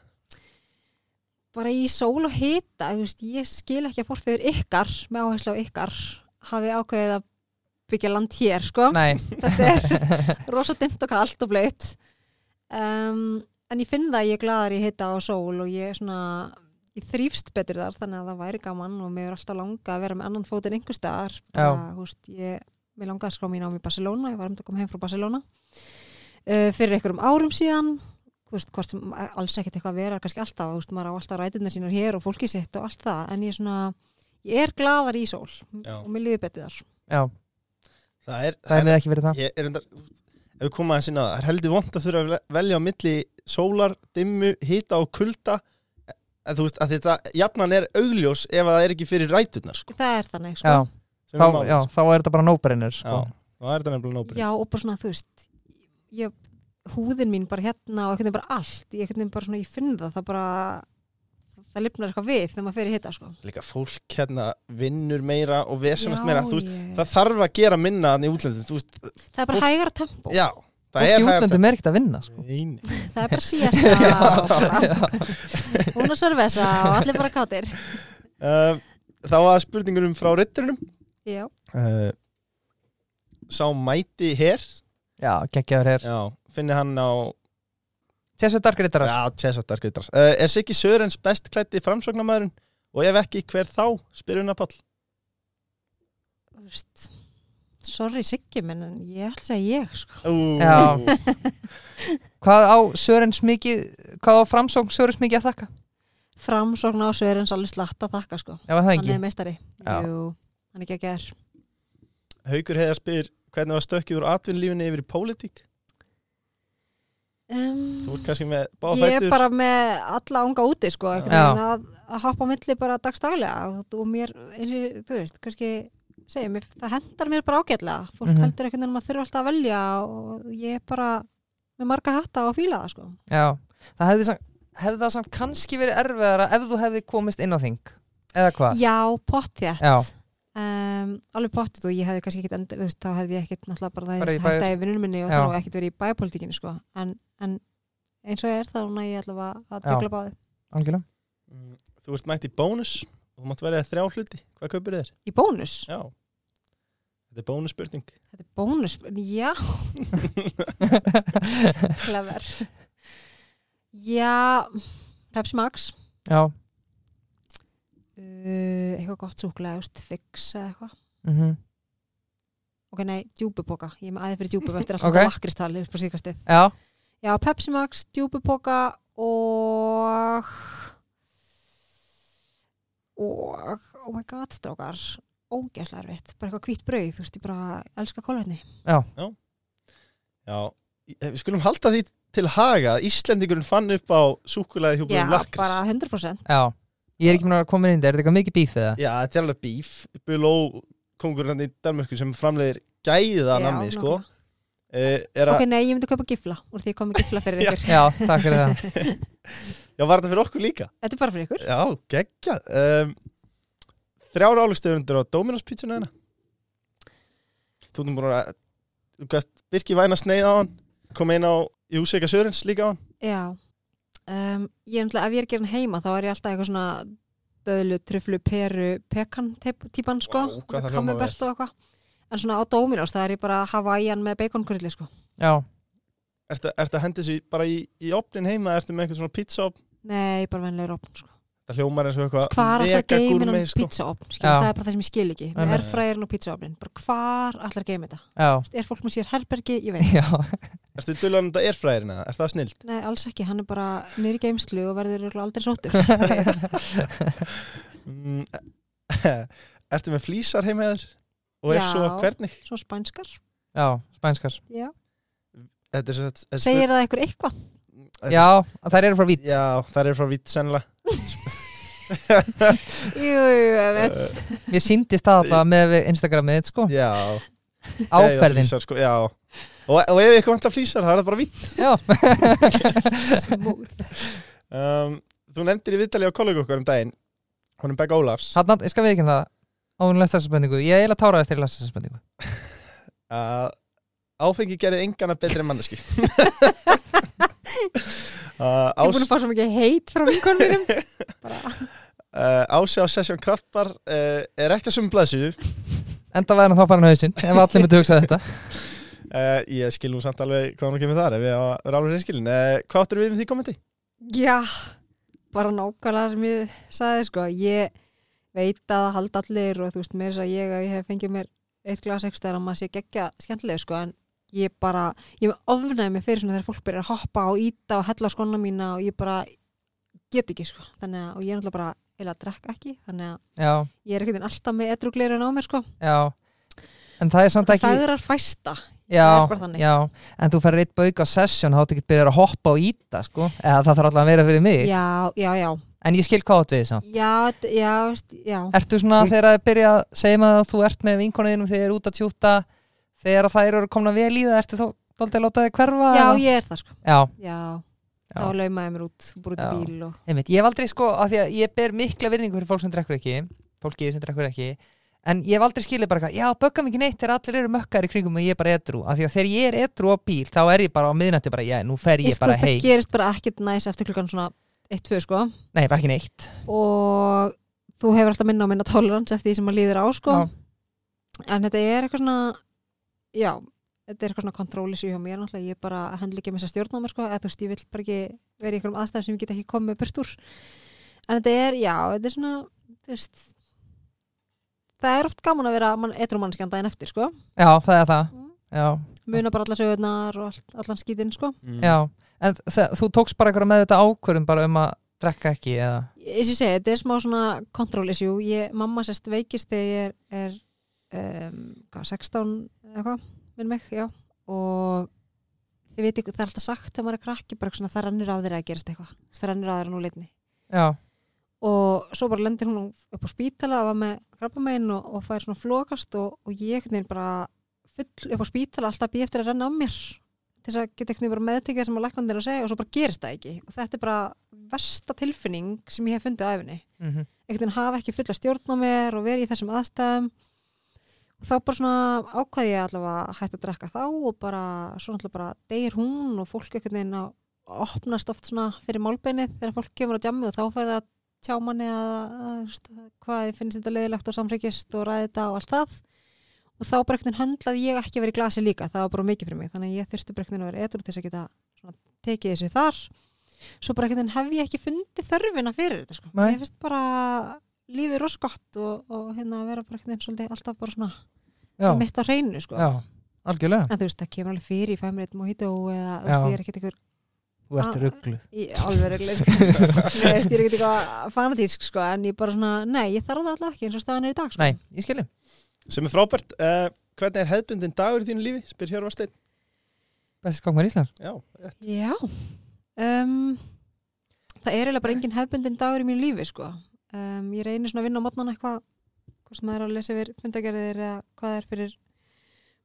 S4: bara í sól og hita þú veist, ég skil ekki að fórfeyður ykkar með áherslu á ykkar hafi ákveðið að byggja land hér sko.
S3: nei
S4: þetta er rosa dimmt og kalt og blöyt um, en ég finn það að ég er glaðar í hita og sól og ég er svona ég þrýfst betur þar þannig að það væri gaman og mér er alltaf langa að vera með annan fót en einhver staðar bara, þú veist, ég, mér langa að skrá mín á mig í Barcelona ég var um að koma heim frá Barcelona uh, fyrir einhverjum árum síðan þú veist, hvort sem alls ekkert eitthvað að vera kannski alltaf, þú veist, maður á alltaf ræturnar sínar hér og fólki sitt og allt það, en ég er svona ég er glaðar í sól
S2: Já.
S4: og mér líður betur þar
S3: Já,
S2: Það er,
S3: það hefði ekki verið það
S2: ég er enda, ef við komum aðeins inn að það er heldur vond að þurfa að velja á milli sólar, dimmu, hita og kulda en þú veist að þetta jafnan er augljós ef að það er ekki fyrir ræturnar sko,
S4: það er þannig, sko
S3: Já,
S2: sem
S3: þá,
S2: er málið,
S3: já,
S2: sko.
S3: þá er þetta bara no-brainer
S2: Já.
S3: sko.
S2: þá er þetta nefnilega nóbrið
S4: Já, og bara svona, þú veist ég, húðin mín bara hérna og einhvern veginn bara allt, ég, einhvern veginn bara svona, ég finn það það bara, það lifnar eitthvað við þegar maður fer í hitta, sko
S2: líka fólk hérna vinnur meira og vesenast meira, þú veist,
S4: ég, það,
S2: það þarf að gera minna þannig útlöndum, þú veist,
S4: er bara hægara tempo
S2: já það
S3: Fólk í
S2: er hægt að-
S3: útlöndum er ekkert að vinna sko.
S2: Nei, nei.
S4: það er bara síðasta hún að servesa og allir bara kátir
S2: Uh, þá að spurningunum frá rytturinnum
S4: já,
S2: uh, sá mæti hér
S3: Já, geggjaður hér
S2: já, finni hann á
S3: Sér svo darkriðar
S2: Já, tjessartar skvittar. Uh, er Siggi Sörens best klætti framsóknarmæðurinn og ef ekki, hver þá? Spyr Unna Pall.
S4: þú veist sorry Siggi minn, en ég ætla að segja ég sko.
S2: Ú,
S3: Já. Hvað á Sörens mikið Hvað á framsókn Sörens mikið að þakka?
S4: framsókn á Sörens alveg slatta þakka sko.
S3: Já, var það
S4: hann
S3: ekki
S4: er meistari
S3: Já.
S4: Jú, hann er ekki að ger
S2: Haukur heiðar spyr hvernig var stökkið úr atvinnlífinni yfir í pólitík? Þú
S4: um,
S2: ert kannski með báða
S4: ég er
S2: fætur.
S4: bara með alla ánga úti sko, einhvern
S3: Já.
S4: veginn að, að hoppa á milli bara dagstaglega og, og mér, eins og, þú veist, kannski segja mér, það hendar mér bara ágætlega fólk
S3: Mhm.
S4: heldur einhvern veginn að maður þurfa alltaf að velja og ég er bara með marga hatta og fíla það sko
S3: Já, það hefði, samt- hefði það samt kannski verið erfiðara ef þú hefði komist inn á þing eða hvað?
S4: Já, pottjætt
S3: Já.
S4: um, alveg pottjætt og ég hefði kannski ekkit endur, þú veist, þá hefði ég ekkit náttúrulega bara það
S3: Bara í
S4: hefði hætta í vinnunum minni og
S3: Já.
S4: þá ekkit verið í bæjapolítikinu sko. en, en eins og er þá næ ég allavega að
S3: Já.
S4: tökla báði
S3: Algjörlega.
S2: Mm, Þú ert mætt í bónus og þú mátt velja þrjá hluti. Hvað kaupir þér?
S4: í bónus,
S2: Já. Þetta er bónusspurning.
S4: þetta er bónus já, clever já Pepsi Max
S3: Já,
S4: uh, eitthvað gott súkulega, þú veist, fix eða eitthvað
S3: mm
S4: ok, nei, djúbuboka, ég er með aðeins fyrir djúbuboka þetta er alltaf
S3: Ok.
S4: okay. lakristall, upp á síkastið
S3: já,
S4: Já, Pepsi Max, djúbupoka og og oh my god, strákar ógæslega erfitt, bara eitthvað hvítt brauð þú veist, ég bara elska kólvetni
S2: Já. Í- eh, Við skulum halda því til haga að Íslendingurinn fann upp á súkulæði
S4: Já,
S2: hjúpum lakris.
S4: bara 100%
S3: já. Ég er ekki mér að koma inn í þetta, er þetta eitthvað mikið bíf eða?
S2: Já, þetta er alveg bíf. Büló kongurinn í Danmarku sem framleiðir gæða
S4: Já,
S2: namni, sko.
S4: nákvæmlega.
S2: Uh, er að
S4: Ok, nei, ég myndi kaupa gifla úr því ég kom með gifla fyrir ykkur
S3: Já, takk fyrir það.
S2: Já, var þetta fyrir okkur líka?
S4: Þetta er bara fyrir ykkur
S2: Já, geggja um, Þrjár álugstöðundur á Dominos pítsuna þeirna Þú erum búin að Þú gæst Birki væna sneið á hann Kom einn á Júseka Sörens líka á hann
S4: Já um, Ég er náttúrulega, ef ég er að gera hann heima þá er ég alltaf eitthvað svona döðlu, truflu, peru, pekan tep- típan sko,
S2: Vá, hvað það
S4: með
S2: hljómar
S4: camembert og eitthvað en svona á Dominos það er ég bara Hawaiian með baconkrulli sko
S3: já,
S2: Ertu ertu að henda þessu í- bara í, í opnin heima eða ertu með einhvern svona pizza opn?
S4: nei, bara venlega opn sko
S2: Það hljómar eins og eitthvað
S4: hvar allar
S2: mega
S4: geimin
S2: gourmet,
S4: hann
S2: sko.
S4: pizzaopn skilur,
S3: Já.
S4: það er bara það sem ég skil ekki
S3: Nei,
S4: með
S3: nei.
S4: erfræðin og pizzaopnin bara hvar allar geimin þetta
S3: já,
S4: er fólk með sér herbergi, ég veit
S3: já
S2: Ertu dullan þetta erfræðirina? Er það snild?
S4: nei, alls ekki, hann er bara niður í geimslu og verður örugglega aldrei sóttur
S2: Mm, ertu með flísar heima eður? Og ef
S4: Já.
S2: svo hvernig?
S4: svo spænskar,
S3: já, spænskar
S4: já
S2: Þetta er, þetta, þetta,
S4: segir það eitthvað eitthvað
S3: já, þær eru frá vít
S2: Já, það er frá vitt sennilega
S4: jú, jú, ég veit
S2: Eh,
S3: mér síndist það alltaf með við Instagramið þitt, sko,
S2: Já
S3: áferðin
S2: flísar, sko, Já Og, og ef eitthvað vantar flísar, það er það bara vitt
S3: já,
S4: smúð
S2: um, Þú nefndir í viðtali á kollega okkar um daginn Honum Begg Ólafs
S3: hann, ég skal við ekki það áður lest þessa spendingu, ég eiginlega táraðist til að lesa þessa spendingu
S2: að áfengi gerði engana betri en manneski uh,
S4: ég er
S2: ás,
S4: búin að fá svo mikið heit frá vinkonum mínum bara,
S2: uh, Ási á Sessjón Kraftbar uh, er ekki að sumum blæðsíðu
S3: enda væri hann þá farin á hausinn, ef allir myndi hugsa þetta
S2: uh, ég skil nú samt alveg hvað hann kemur þar ef ég á að vera alveg reynskilin uh, hvað áttur við með því kommenti?
S4: já bara nákvæmlega sem ég sagði sko ég veit að það halda allir og þú veist mér að ég að ég hef fengið mér eitt glas ekstra að maður sé geggja skemmtilega sko en ég bara, ég ofnaði mig fyrir svona þegar fólk byrjar að hoppa og íta og hella á skona mína og ég bara get ekki sko þannig að, og ég er náttúrulega bara eða drekk ekki, þannig að
S3: já,
S4: ég er ekkert veginn alltaf með edrugleirun á mér sko,
S3: já en það er samt ekki
S4: fagrar fæsta
S3: já,
S4: er bara þannig.
S3: já, en þú færir eitt bauk á session þá áttu ekki byrjar að hoppa og íta sko. eða það þarf alltaf að vera fyrir mig
S4: já, já, já,
S3: en ég skil hvað átt við samt
S4: já, d- já, veist, já.
S3: ertu svona þegar það er byrja að segja maður að þú ert með vinkonuðinum þegar þið eru út að tjúta þegar þær eru komna vel í það ertu þó doldið að láta þið hverfa
S4: já,
S3: eða?
S4: ég er það sko
S3: já,
S4: já,
S3: Já.
S4: þá laumaði ég mér út bara út í
S3: Já.
S4: bíl og
S3: einmitt, ég hef aldrei sko af því að ég ber mikla virðingu fyrir fólk sem drekkur ekki fólki sem drekkur ekki en ég hef aldrei skilið bara eitthvað, já, böggam ekki neitt þegar allir eru mökkar í kringum og ég er bara edru af því að þegar ég er edru á bíl, þá er ég bara á miðnætti bara, já, nú fer ég bara
S4: Ísland
S3: hei
S4: gerist bara ekkert næs eftir klukkan svona 1-2 sko
S3: nei, bara ekki neitt
S4: og þú hefur alltaf minna og minna tolerans eftir því sem maður líður á sko
S3: Já.
S4: en þetta er eitthvað svona já, þetta er eitthvað svona kontrólis hjá mér náttúrulega, ég bara hendla ekki með þess að stjórna á mér sko, eða þú veist, ég vil bara ekki vera í einhverjum aðstæðum sem ég get ekki komið burt úr en þetta er, já, þetta er svona þú veist það er oft gaman að vera man, etrumannskan daginn eftir sko,
S3: já, það er það,
S4: Mm.
S3: já
S4: muna bara allar sögurnar og all, allan skítinn sko
S3: Já, en þe- þú tókst bara eitthvað með þetta ákvörðum bara um að drekka ekki eða
S4: eins og ég segi, þetta er smá svona control issue, ég, mamma sérst veikist þegar ég er, er um, hvað, 16 eða eitthvað, minn mig, já og þið veit ykkur, það er alltaf sagt þegar maður er krakki, bara svona það rennur á þeir að gerast eitthvað, það rennur á þeir að nú leitni
S3: Já,
S4: og svo bara lendir hún upp á spítala og var með krabbamein og, og fær svona flokast og, og ég einhvern veginn bara full upp á spítala alltaf býð eftir að renna á mér til þess að geta einhvern veginn bara meðtekið það sem að læknandi er að segja og svo bara gerist það ekki og þetta er bara versta tilfinning sem ég hef fundið á æfinni
S3: mm
S4: einhvern veginn hafa ekki fulla stjórn á mér og verið í þessum aðstæðum og þá bara svona ákvaði ég allavega að hætta að drekka þá og bara svona allavega bara deyr hún og fólk einhvern veginn að opnast oft svona fyrir málbeinið þegar fólk kemur á djammi og þá fæði það tjá manni að, að, þú veist, að hvað þið finnst þetta leiðilegt og samfrikist og ræði þetta og allt það og þá bara einhvern veginn höndlaði ég ekki að vera í glasi líka það var bara mikið fyrir mig þannig að ég þurfti bara einhvern veginn að vera etur til þess að geta svona, tekið þessu þar svo bara einhvern veginn hef ég ekki fundið þörfina fyrir þetta sko.
S3: Nei.
S4: ég finnst bara lífið rosa gott og, og hérna að vera bara einhvern veginn svolítið alltaf bara svona
S3: já,
S4: mitt á hreinu sko.
S3: já, algjörlega
S4: en þú veist það kemur alveg fyrir ég fæ mér eitt mojito eða
S3: Já.
S4: þú veist, ég er ekkert einhver
S3: Þú ert sko.
S4: Ah.
S3: rugglu
S4: í alveg reglir ég er ekkert eitthvað fanatísk sko, en ég bara svona, nei, ég þarf það alltaf ekki eins og staðan er í dag sko.
S3: Nei, ég skilji
S2: sem er frábært uh, hvernig er hefðbundin dagur í þínu lífi? spyr Hjörvar Steinn
S3: Besti skókmar Ísland
S2: já, rétt.
S4: Já um, Það er eiginlega bara engin hefbundin dagur í mínu lífi sko. um, Ég reynir svona að vinna á mótnana eitthvað hvort sem það er að lesa yfir fundagerðir eða hvað það er fyrir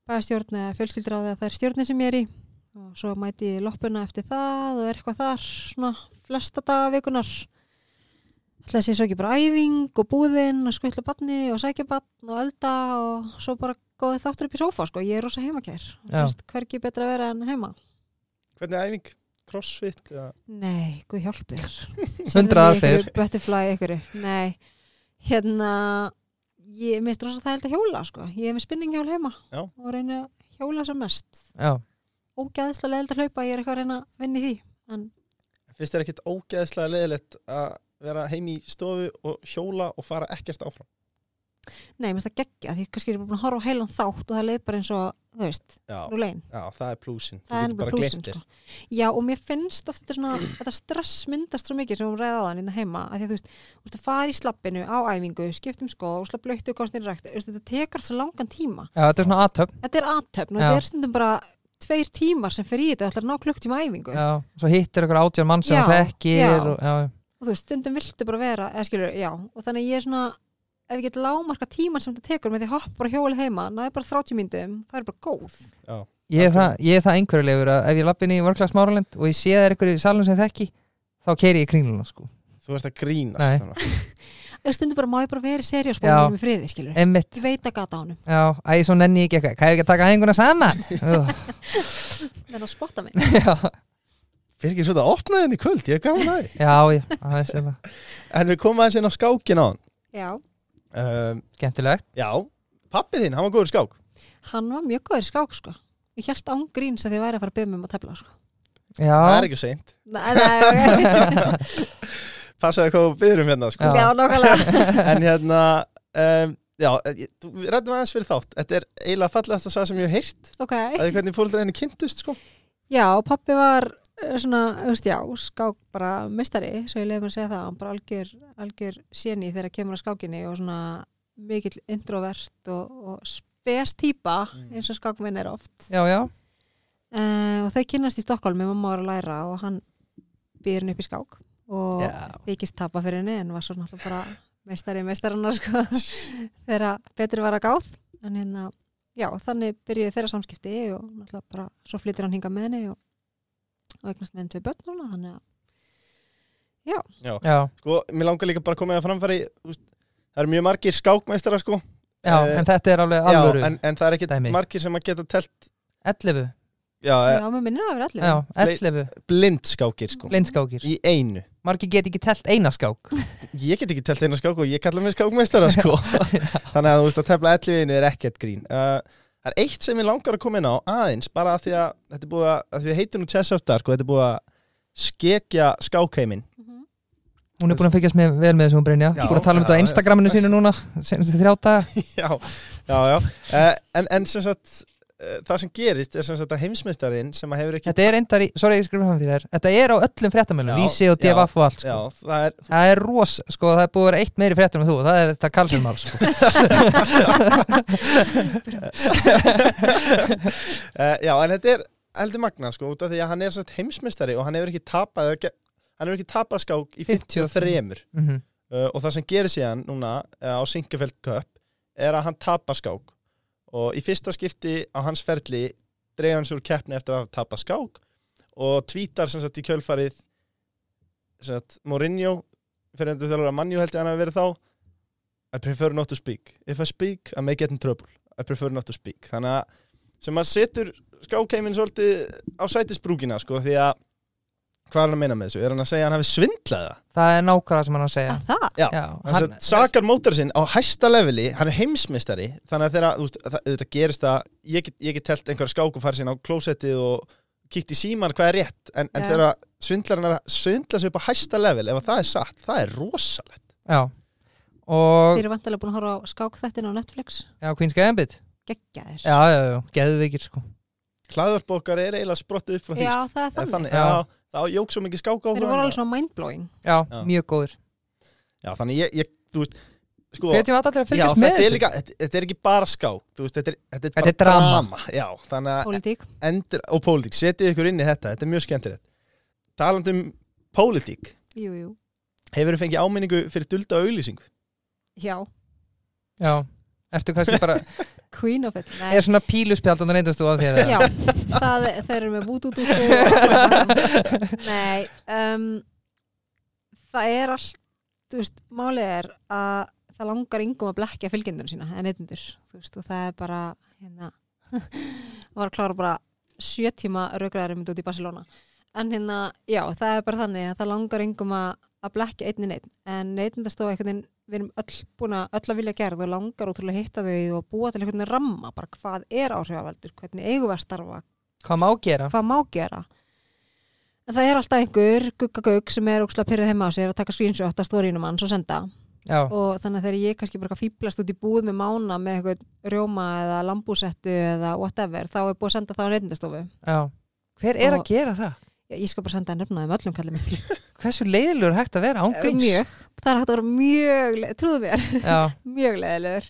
S4: bæðastjórn eða fjölskyldur á það er stjórnin sem ég er í og svo mæti ég í loppuna eftir það og er eitthvað þar svona flesta daga vikunar ætla að sé svo ekki bara æfing og búðinn og skutla batni og sækja batn og elda og svo bara góði þáttur upp í sófa sko, ég er rosa heimakær
S3: Já.
S4: Þú veist, hvergi betra að vera en heima
S2: hvernig er æfing? crossfit eða
S4: Nei, guð hjálpi þér.
S3: Hundrað aðferðir.
S4: Einhverju Butterfly ykkur, nei. Hérna, ég minnst rosa það held að hjóla, sko. Ég er með spinninghjól heima
S2: Já.
S4: og reyna að hjóla sem mest.
S3: já,
S4: Ógæðslega leild að hlaupa, ég er eitthvað að reyna að vinna í því. En
S2: finnst þér ekkit ógeðslega leðilegt að vera heim í stofu og hjóla og fara ekkert áfram
S4: nei, minnst það geggja, því kannski er ég bara búin að horfa á heilan þátt og það leið bara eins og, þú veist,
S2: já,
S4: rúlein.
S2: já það er plúsin
S4: Það er bara plúsin, sko. Já, og mér finnst oft þetta svona, þetta stress myndast svo mikið sem hún ræði á þann innan hérna heima, að því að þú veist, þú veist að fara í slappinu á æfingu, skiptum skó, slapp blöyttu og konstinir rækt, þú veist, þetta tekar svo langan tíma.
S3: já, þetta er svona aðtöfn
S4: Þetta er aðtöfn og
S3: Já.
S4: þetta er stundum bara tveir tímar sem fyrir í þetta, ætlar að ná klukktíma æfingu.
S3: já, svo hittir ykkur átján mann sem
S4: sko. Já,
S3: það þekkir
S4: já.
S3: og, já,
S4: Og þú veist, stundum viltu bara vera, eða skilur, já, og þannig að ég er svona, ef ég get lágmarka tíman sem þetta tekur með því hopp bara hjóli heima, næði bara 30 myndum, það er bara góð.
S3: ég, er
S2: Ok.
S3: það, ég er það einhverjulegur að ef ég lappi inn í World Class Máraland og ég sé það er ykkur í salun sem ég þekki þá keiri ég í kringluna sko
S2: þú veist að
S3: Nei.
S2: grínast þarna.
S4: En Stundum bara má ég bara vera í
S3: Já.
S4: seriósbólum með friði, skilur.
S3: Emmitt,
S4: Ég veit að gata á honum,
S3: já, æ, svo nenni ég ekki eitthvað Hvað er ekki að taka aðinguna saman? Ugh,
S4: menn að spotta mig.
S3: já,
S2: Birgir svo þetta opnaði henni í kvöld, ég er gaman að því
S3: já, já, það er sem það
S2: en við komum aðeins inn á skákin á hann
S4: Já,
S2: um,
S3: Skemmtilegt
S2: já, pappið þinn, hann var góður í skák
S4: hann var mjög góður í skák, sko. Ég held ángríns að því væri að fara að byrja mig um að tefla, sko.
S2: það
S3: Já,
S2: er ekki seint,
S4: Nei, nei,
S2: passaði hvað þú byrjum hérna sko.
S3: Já.
S4: já, nákvæmlega.
S2: en hérna um, já, ég- þú- við rættum aðeins fyrir þátt þetta er eiginlega fallegast að sagða sem ég hef heyrt
S4: Ok.
S2: að því hvernig fólkdra henni kynntust sko.
S4: Já, pappi var eh, svona, þú veist, já, skák bara mestari, svo ég leiði mér að segja það, hann bara algjör, algjör séni þegar kemur að skákinni og svona mikill introvert og, og spes típa
S2: Mm.
S4: eins og skákmenn er oft.
S3: já, já
S4: Uh, og þau kynnast í Stokkólmi, mamma var að læra og hann býr henni upp í skák og
S3: Já.
S4: þykist tapa fyrir henni en var svo náttúrulega bara meistari meistarana sko, þegar betur var að gáð en hérna, já, þannig byrjuði þeirra samskipti og náttúrulega bara svo flyttir hann hinga með henni og, og eignast með henni tvei börn núna þannig að,
S3: Já,
S2: sko, mér langar líka bara að koma það framfæri þú veist, það eru mjög margir skákmeistara sko.
S3: já,
S2: Eh,
S3: en þetta er alveg
S2: já,
S3: alvöru
S2: en, en það er ekki
S3: Dæmi.
S2: margir sem að geta telt
S3: 11,
S2: já, eh,
S4: já, mér minnir að það vera allir
S3: já, 11
S2: blind skákir sko.
S3: blindskákir
S2: í einu
S3: Margi get ekki telt eina skák
S2: ég get ekki telt einu skák og ég kalla mig skákmeistara sko. þannig að þú veist að tefla 11 í einu er ekkert grín uh, það er eitt sem ég langar að koma inn á aðeins bara að því að þetta er búið að, að því við heitum nú chess aftar sko, þetta er búið að skekja skákheimin
S4: Mhm.
S3: Hún er búin að fylgjast með, vel með þessum Brynja
S2: Já,
S3: Búin að tala um
S2: já,
S3: þetta á
S2: já.
S3: Instagraminu sínu núna Senstu þrjá daga
S2: já, já, já uh, en, en sem sagt uh, það sem gerist er sem sagt að heimsmeistarin sem að hefur ekki
S3: Þetta er endar í, sorry ég skrifa hann fyrir þér Þetta er á öllum fréttamælum,
S2: Já,
S3: Vísi og
S2: já,
S3: DFF og allt sko.
S2: já, það er,
S3: Það er ros, sko, það er búið að vera eitt meiri fréttum en þú Það er þetta kalsumál, sko
S2: Uh, já, en þetta er heldur magna, sko, út af því að hann er sagt, heimsmyndstari og hann hefur ekki tapað eða ge- hann hefur ekki tapað skák í 53
S3: Mhm.
S2: uh, og það sem gerir síðan núna uh, á Sinkafeld Cup er að hann tapar skák og í fyrsta skipti á hans ferli dreif hans úr keppni eftir að hafa tapað skák og tvítar sem sagt í kjölfarið sem sagt Mourinho fyrir endur þjálfur að mannjú held ég að hann hafi verið þá I prefer not to speak if I speak I may get in trouble I prefer not to speak þannig að sem að setur skákeimin svolítið á sætisbrúkina sko því að hvað er hann að meina með þessu? Er hann að segja að hann hafi svindlað það?
S3: Það er nákvæmlega sem hann er að segja
S4: að það,
S2: Já,
S3: Já,
S2: hann
S3: hann-
S2: sakar mótar sinn á hæsta leveli, hann er heimsmystari þannig að þegar, þú veist, það, auðvitað gerist það ég get, ég get telt einhverja skák og farið sinn á klósettið og kíkt í síman hvað er rétt en, en
S4: Já.
S2: þegar svindlarinn er að svindla sig upp á hæsta level, ef að það er satt, það er rosalegt
S3: Já Og,
S4: þeir eru vantilega búin að horfa á skákþættin á Netflix
S3: já, Queen's Gambit
S4: geggjaðir
S3: Já, já, já, geðvikir, sko
S2: hlaðvarp okkar er eiginlega sprottu upp frá því
S4: Já,
S2: sko.
S4: það er
S2: Eða
S4: þannig,
S2: þannig,
S3: Já.
S2: já, þá jók svo mikið skák á
S4: þeir voru alveg svona mindblowing
S3: Já,
S2: Já.
S3: mjög góður
S2: já, þannig ég, ég, þú veist sko,
S3: Hvetjum við allir að
S2: já,
S3: fylgjast
S2: þetta
S3: með
S2: er,
S3: þessu
S2: líka, þetta, þetta er ekki bara skák þú veist, þetta er, þetta er
S3: Þetta
S2: bara
S3: er drama.
S2: já, þannig að
S4: politík
S2: endur, og pólitík, setið ykkur inn í þetta þetta er mjög skemmtilegt talandi um pólitík
S4: Jú, jú,
S2: hefur þið fengið áminningu fyrir dulda auglýsingu
S4: já,
S3: Já, ertu kannski bara
S4: queen of it Nei,
S3: Er svona píluspjald og reyndast þú af þér eða?
S4: Já, það, þeir eru með vútútúku Nei um, Það er allt þú veist, málið er að það langar yngum að blekja fylgjendunum sína en neytendur, þú veist, og það er bara hérna, það var að klára bara sjö tíma raukraðarum út í Barcelona en hérna, já, það er bara þannig að það langar engum að, að blekja einni neitt en neitindastofa einhvern veginn, við erum öll búin að öll að vilja gerð og langar ótrúlega að hitta þau og búa til einhvern veginn ramma, bara hvað er áhrifavaldur, hvernig eigum við að starfa,
S3: Hvað má gera?
S4: hvað má gera en það er alltaf einhver guggagaug sem er ókslega pyrrið heima á sér að taka screenshot af stórínum hans og senda
S3: Já,
S4: og þannig að þegar ég kannski bara fýblast út í búið með mána með eitthvað rjóma eða lambúsettu eða whatever, þá er búið að senda það á neitindastofu
S3: já. Hver er
S4: Og-
S3: að gera það?
S4: ég, ég skal bara senda nefnaðum öllum kallið minn
S3: Hversu leiðilegur er hægt að vera ángríns?
S4: mjög, það er hægt að vera mjög le- trúðu mér,
S3: Já,
S4: mjög leðilegur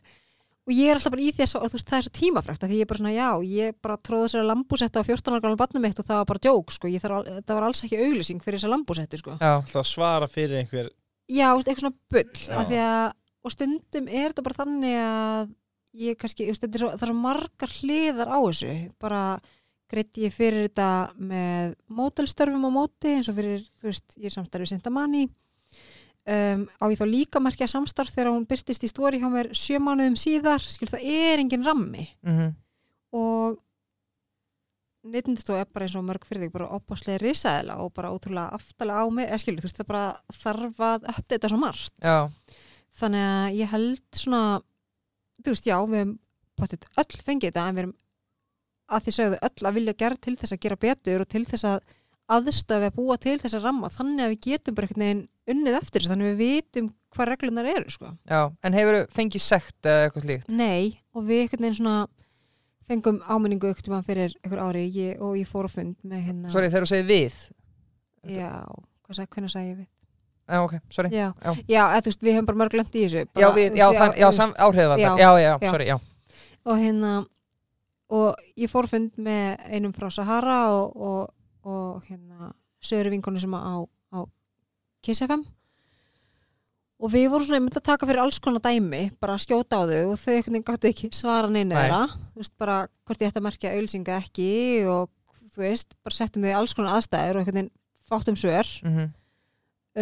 S4: og ég er alltaf bara í því að svo- og þú veist, það er svo tímafrækt af því ég er bara svona, já, ég bara tróði sér að lambúsetta á 14 ára gamla barnum mitt og það var bara djók, sko, ég þarf, al- það var alls ekki auglýsing fyrir þessa lambúsettu, sko
S3: já,
S2: Það svara fyrir einhver
S4: já, þú veist, eitthvað svona bull,
S2: Já.
S4: af því að og stundum er þetta bara þannig að ég kannski, þú veist, þetta er svo, það er svo margar hliðar á þessu, bara greitt ég fyrir þetta með mótelstörfum á móti, eins og fyrir þú veist, ég er samstarfið Sintamani um, á ég þá líka merkja samstarf þegar hún byrtist í stóri hjá mér sjö mánuðum síðar, skil það er engin rammi
S3: mhm,
S4: og neytindastofa er bara eins og mörg fyrir þig bara opaslega risaðila og bara ótrúlega aftalega á mig, eða skilur, þú veist það er bara þarf að uppdata svo margt
S3: já,
S4: þannig að ég held svona þú veist, já, við hefum pottet öll fengið þetta, en við erum að því sögðu öll að vilja gera til þess að gera betur og til þess að aðstöfi að búa til þess að ramma, þannig að við getum bara einhvern veginn unnið eftir þessu, þannig að við vitum hvað reglunar eru, sko.
S3: já. En hefur fengið sekt eða eitthvað slíkt?
S4: Nei, og við einhvern veginn svona fengum áminningu ykkur tíma fyrir ykkur ári ég, og ég fór á fund með hérna
S3: Sorry, þegar þú segir við.
S4: Já, hvað sagði, hvernig sagði ég við?
S3: Já, ok, sorry.
S4: Já,
S3: Já.
S4: já eða, þú veist, við hefum bara mörg lent í þessu bara,
S3: Já, við, já,
S4: þú
S3: þann,
S4: veist,
S3: já, sam, áhrifavaldar.
S4: Já,
S3: Já, já,
S4: já.
S3: sorry, já.
S4: og hérna og ég fór á fund með einum frá Sahara og, og, og hérna söður vinkonu sem á, á Kiss FM og við vorum svona einmitt að taka fyrir alls konar dæmi bara að skjóta á þau og þau einhvern veginn gátti ekki svara neina
S3: Nei.
S4: þeirra þú veist bara hvort ég ætti að merkja auðlýsinga ekki og þú veist, bara settum við alls konar aðstæður og einhvern veginn fáttum svör
S3: mhm,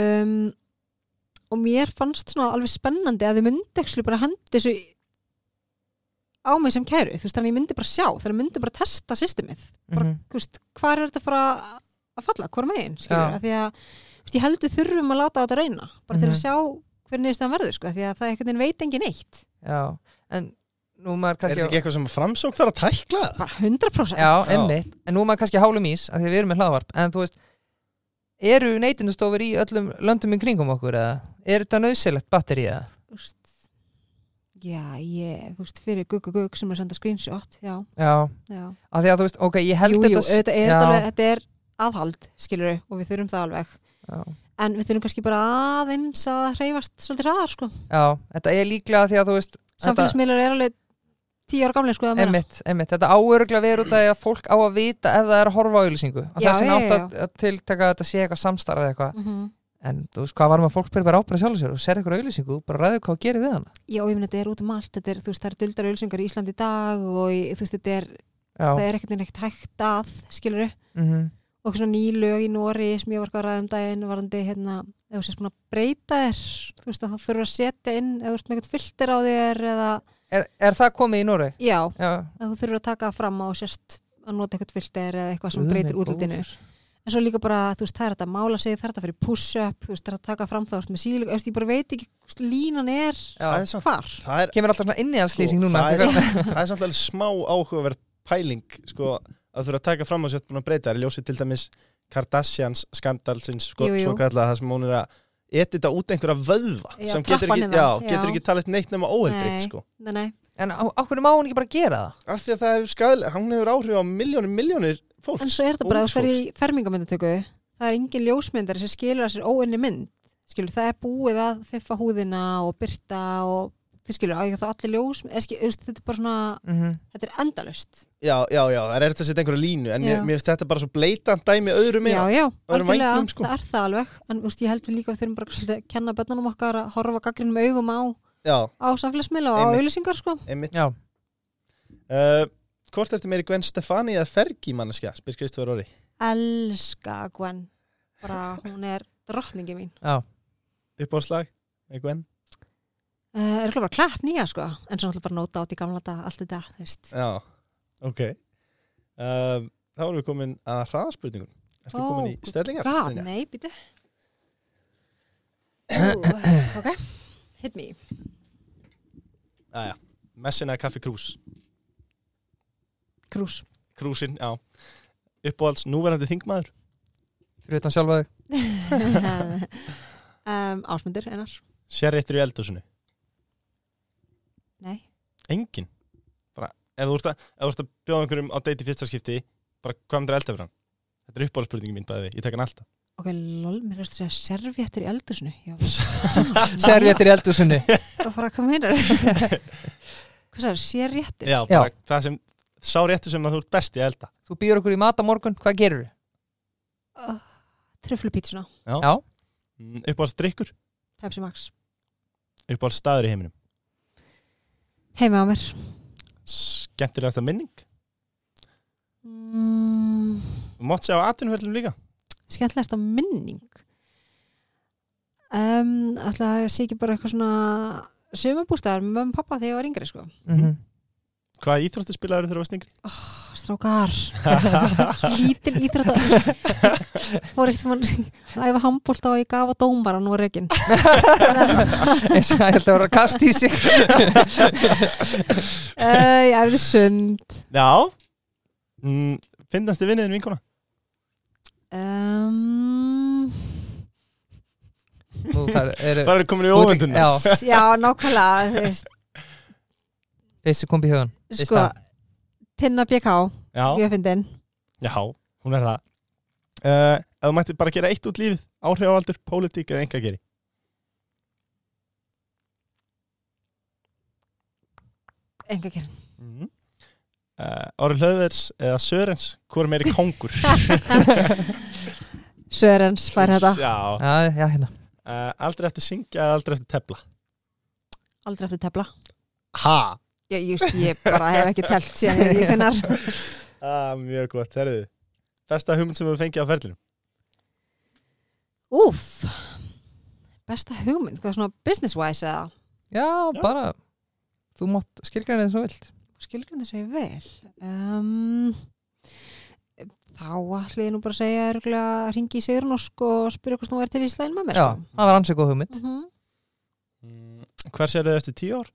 S4: um, og mér fannst svona alveg spennandi að þau myndi ekki bara hendi þessu á mig sem kæru, þú veist, þannig að ég myndi bara sjá þannig að ég myndi bara testa systemið bara,
S3: mhm,
S4: þú veist, hvar er þetta að fara að falla, hvar megin, skilur,
S3: Já.
S4: af því að þú veist, ég held við þurfum að láta á þetta reyna bara til
S3: Mhm.
S4: að sjá hvernig þess það verður, sko, af því að það einhvern veginn veit engin eitt,
S3: Já, en nú er maður
S2: Er
S3: kannski...
S2: þetta ekki eitthvað sem framsók þarf að tækla?
S4: bara 100%
S3: Já,
S2: Já.
S3: einmitt, en nú er maður kannski hálum ís af því að við erum með hlaðvarp, en þú veist eru neytindustofur í öllum löndum í kringum okkur eða? Er þetta nöðsilegt batteri eða?
S4: Þú veist, já, ég, þú veist, fyrir gugg og gugg sem er að senda screenshot, já,
S3: Já,
S4: já
S3: af því að þú veist, ok, ég held
S4: Jú, jú,
S3: þetta s-
S4: þetta er,
S3: já,
S4: alveg, þetta er aðhald, skilur við, og við þurfum það alveg.
S3: já,
S4: En við þurfum kannski bara aðeins að hreyfast svolítið hraðar, sko.
S3: já, þetta er líklega af því að þú veist þetta,
S4: Samfélagsmiðlar er alveg tíu ára gamlega, sko, að meina.
S3: einmitt, einmitt, þetta áöruglega verið út af því að fólk á að vita ef það er að horfa á auðlýsingu og
S4: Já,
S3: þessi
S4: já,
S3: nátt
S4: já,
S3: að að tiltaka að þetta sé eitthvað samstarf eða eitthvað,
S4: Mm -hmm.
S3: en þú veist hvað var maður að fólk byrja bara ábyrða sjálf sér og sér eitthvað auðlýsingu, þú bara ræður hvað að gera við hana
S4: Já, ég meina, þetta er út um allt. Þetta er, þú veist, það eru duldar ölsingar í Íslandi í dag og í, þú veist, þetta er, það
S3: Já,
S4: er ekkert neitt hægt að, skilur við.
S3: mm
S4: Og svona ný lög í Nóri sem ég var eitthvað að ræða um daginn varandi, hérna, ef þú sést búin að breyta þér, þú veist, að það þurfa að setja inn, ef þú ert með eitthvað filter á þér eða,
S3: er, er það komið í Noreg?
S4: já,
S3: Já,
S4: að þú þurfur að taka fram á sérst að nota eitthvað filter eða eitthvað sem
S3: Guð
S4: breytir
S3: minn
S4: útlutinu
S3: góður.
S4: en svo líka bara, þú veist, það er þetta að mála sig það er þetta að fyrir push-up, þú veist, það er þetta að taka fram þá ertu með sílu, veist, ég bara veit ekki, þú veist, línan er
S2: Það
S3: Já,
S2: er samt,
S4: hvar
S2: það er,
S3: kemur alltaf svona inni af slýsing
S2: Sko,
S3: núna
S2: það er
S3: Þetta er-
S2: það er samt alveg smá áhugaverð pæling sko, að þurfa að taka fram á sér búin að breyta er ljósið til dæmis Kardashians skandalsins sko,
S4: Jú, jú.
S2: svo kallað það sem hún er að edita út einhverja vöðva
S4: Já,
S2: sem getur ekki,
S4: trappan
S2: já,
S4: hérna, já.
S2: getur ekki talist neitt nema óheilbreytt
S4: Nei.
S2: sko.
S4: nei, nei,
S3: En á, á hverju má hún ekki bara gera það?
S2: af því að það hefur skæðilega, hann hefur áhrif á miljónir, miljónir fólks
S4: en svo er þetta bara að
S2: Ungs
S4: þú fer í fermingamyndatöku það er engin ljósmyndar sem skilur að sér óinni mynd skilur, það er búið að fiffa húðina og byrta og þið skilur, á ég þá allir ljós eða skilur, þú veist, þetta er bara svona,
S3: Mm -hmm.
S4: þetta er endalust
S2: já, já, já, það er eftir að setja einhverja línu en
S4: Já.
S2: mér, mér finnst þetta bara svo bleitant dæmi öðru meira
S4: Já, já,
S2: öðrum
S4: algjörlega,
S2: vængnum, sko.
S4: það er það alveg en úst, ég held við líka að við þurfum bara svolítið að kenna bönnunum okkar að horfa gaggrinum augum á,
S2: já,
S4: á samfélagsmiðla og á
S2: Einmitt.
S4: auðlýsingar sko.
S2: einmitt
S3: Já,
S2: uh, Hvort ertu meiri Gwen Stefani eða Fergie manneskja, spyr Kristofur Óri
S4: Elska Gwen bara hún er drottningi mín
S3: já,
S2: uppáðslag, Gwen
S4: uh, er ekki bara klapp nýja sko en svo náttúrulega bara nóta átt í gamla dag, allt þetta þú veist.
S2: Uh, Já, ok um, Þá erum við komin að hraðaspurningun Ertu komin í
S4: Ó,
S2: stellingar?
S4: God,
S2: Brynja?
S4: nei, býtu. Ú, eh, ok, hit me.
S2: Jæja, messin eða kaffi krús
S4: Krús.
S2: Krúsin, já Uppáhalds núverandi þingmaður
S3: fyrir utan sjálfa þig
S4: um, ásmundur, ennars.
S2: Sér réttur í eldhúsinu
S4: Nei.
S2: Engin bara, Ef þú ert að, ef þú ert að bjóða einhverjum á date í fyrsta skipti bara hvað myndir elda fyrir hann? Þetta er uppáhaldsspurningin mín bæði, við, ég tek hann alltaf
S4: Ok, lol, mér erstu að segja servjettur í eldusinu.
S3: servéttir í eldhúsunni
S4: Það fara að koma hinnar. Hvað sagði, sérréttur?
S2: Já, bara það sem sá réttur sem að þú ert best í að elda
S3: þú býður okkur í mat á morgun, hvað gerur þið?
S4: Oh, Truflupítsuna,
S3: Já.
S2: Mm, Uppáhaldsdrykkur,
S4: Pepsi Max.
S2: uppáhaldsstaður í heiminum
S4: Heima á mér.
S2: Skemmtilegasta minning
S4: Mm,
S2: Þú Mátt segja á atvinnufjöldum líka
S4: skemmtilegast á minning. Um, Alltaf sé ekki bara eitthvað svona sumabústæðar með mömmu og pappa þegar ég var yngri, sko.
S3: Mm -hmm.
S2: Hvað íþróttu spilaður þegar þú varst yngri?
S4: strákar lítil íþrótta fór eitt mann að æfa handbólta og ég gaf að dómar á Noregin
S3: eins og það held að vera að kasta í sig
S4: ég æfði sund
S2: Já mm, Finnast þið vinniðin vinkona?
S4: um,
S3: Nú, það eru
S2: Það er komin í
S3: Þú ert-
S2: óvöndunum
S3: já,
S4: já, nákvæmlega þú veist,
S3: þessi kom í hugan Veist
S4: sko,
S3: það.
S4: Tinna BK
S2: já.
S4: ég finn þinn
S2: Já, hún er það uh, Ef þú mættir bara gera eitt út lífið Áhrifavaldur, pólitík eða enga geri
S4: enga kérn
S2: mm. uh, Orri Hlöðvers eða Sörens Hvor er meiri kongur?
S4: Sörens fær þetta
S2: Já,
S3: já, já, hérna
S2: uh, aldrei eftir syngja eða aldrei eftir tepla
S4: aldrei eftir tefla
S2: Ha?
S4: ég, ég, veist, ég bara hef ekki telt síðan ég kunnar
S2: Ah, mjög gott, herðu Besta hugmynd sem þú fengið á ferlinum
S4: úf besta hugmynd, hvað svona business wise eða
S3: já, bara þú mátt skilgræna þið svo vilt
S4: skilgrindi segja vel um, þá ætli ég nú bara að segja örgulega að ringi í Sigrun Ósk og sko, spyrja hvort hún væri til í slæðin með mér
S3: já, það var ansið góð hugmynd
S4: mm -hmm.
S2: mm. Hver sér þau eftir tíu ár?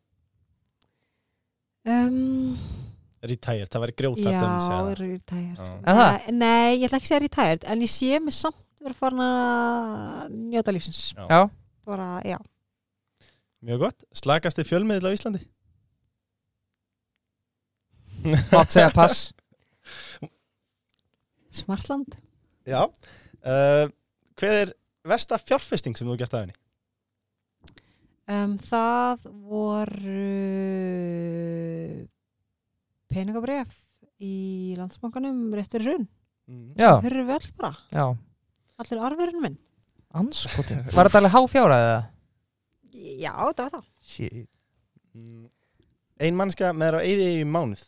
S4: um,
S2: Retire, það væri grjótart ef hún
S4: já,
S2: segir það.
S4: retired
S2: Já.
S3: Er það?
S4: nei, nei, ég ætla ekki að segja retired en ég sé mig samt vera farin að njóta lífsins
S2: Já.
S3: já,
S4: bara, já,
S2: Mjög gott, slagasti fjölmiðil á Íslandi
S3: mátt segja pass
S4: smartland
S2: Já uh, Hver er versta fjárfesting sem þú gert að henni?
S4: um, það voru peningabref í landsbankanum réttur hrun,
S3: já,
S4: hörru vel bara
S3: já,
S4: allir arfurinn minn
S3: anskotin var þetta alveg háfjárað eða?
S4: Já, þetta var það.
S3: shit
S2: Mm. Ein mannska með þér á eyði í mánuð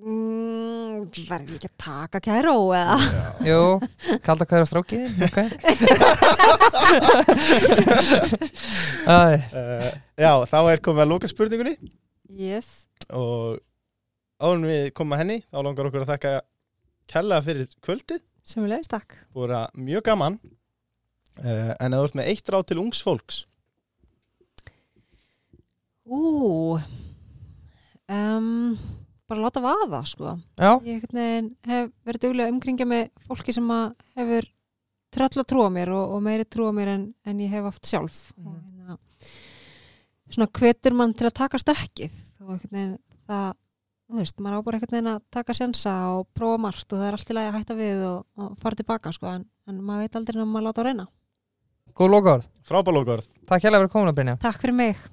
S4: Mm, verði ekki að taka kæró eða?
S3: Jú, kalda hverja strákið ok Æ,
S2: uh, Já, þá er komið að lóka spurningunni
S4: Yes.
S2: og árum við komum að henni þá langar okkur að þakka kærlega fyrir kvöldið
S4: Sem við leiðist takk.
S2: voru mjög gaman uh, en að þú ert með eitt ráð til ungs fólks
S4: Ú, um, bara láta vaða, sko.
S3: já,
S4: Ég einhvern veginn hef verið duglega að umkringja með fólki sem að hefur tröll að trúa mér og, og meiri trúa mér en, en ég hef haft sjálf.
S3: Mhm.
S4: Mm. Hérna, svona hvetur mann til að taka stökkið og einhvern veginn það, þú veist, maður á bara einhvern veginn að taka sensa og prófa margt og það er allt í lagi að hætta við og, og fara tilbaka, sko, en, en maður veit aldrei en maður láta á reyna.
S3: góð lokaður
S2: Frábælókur
S3: Takk hérlega fyrir komin að Brynja
S4: Takk fyrir mig.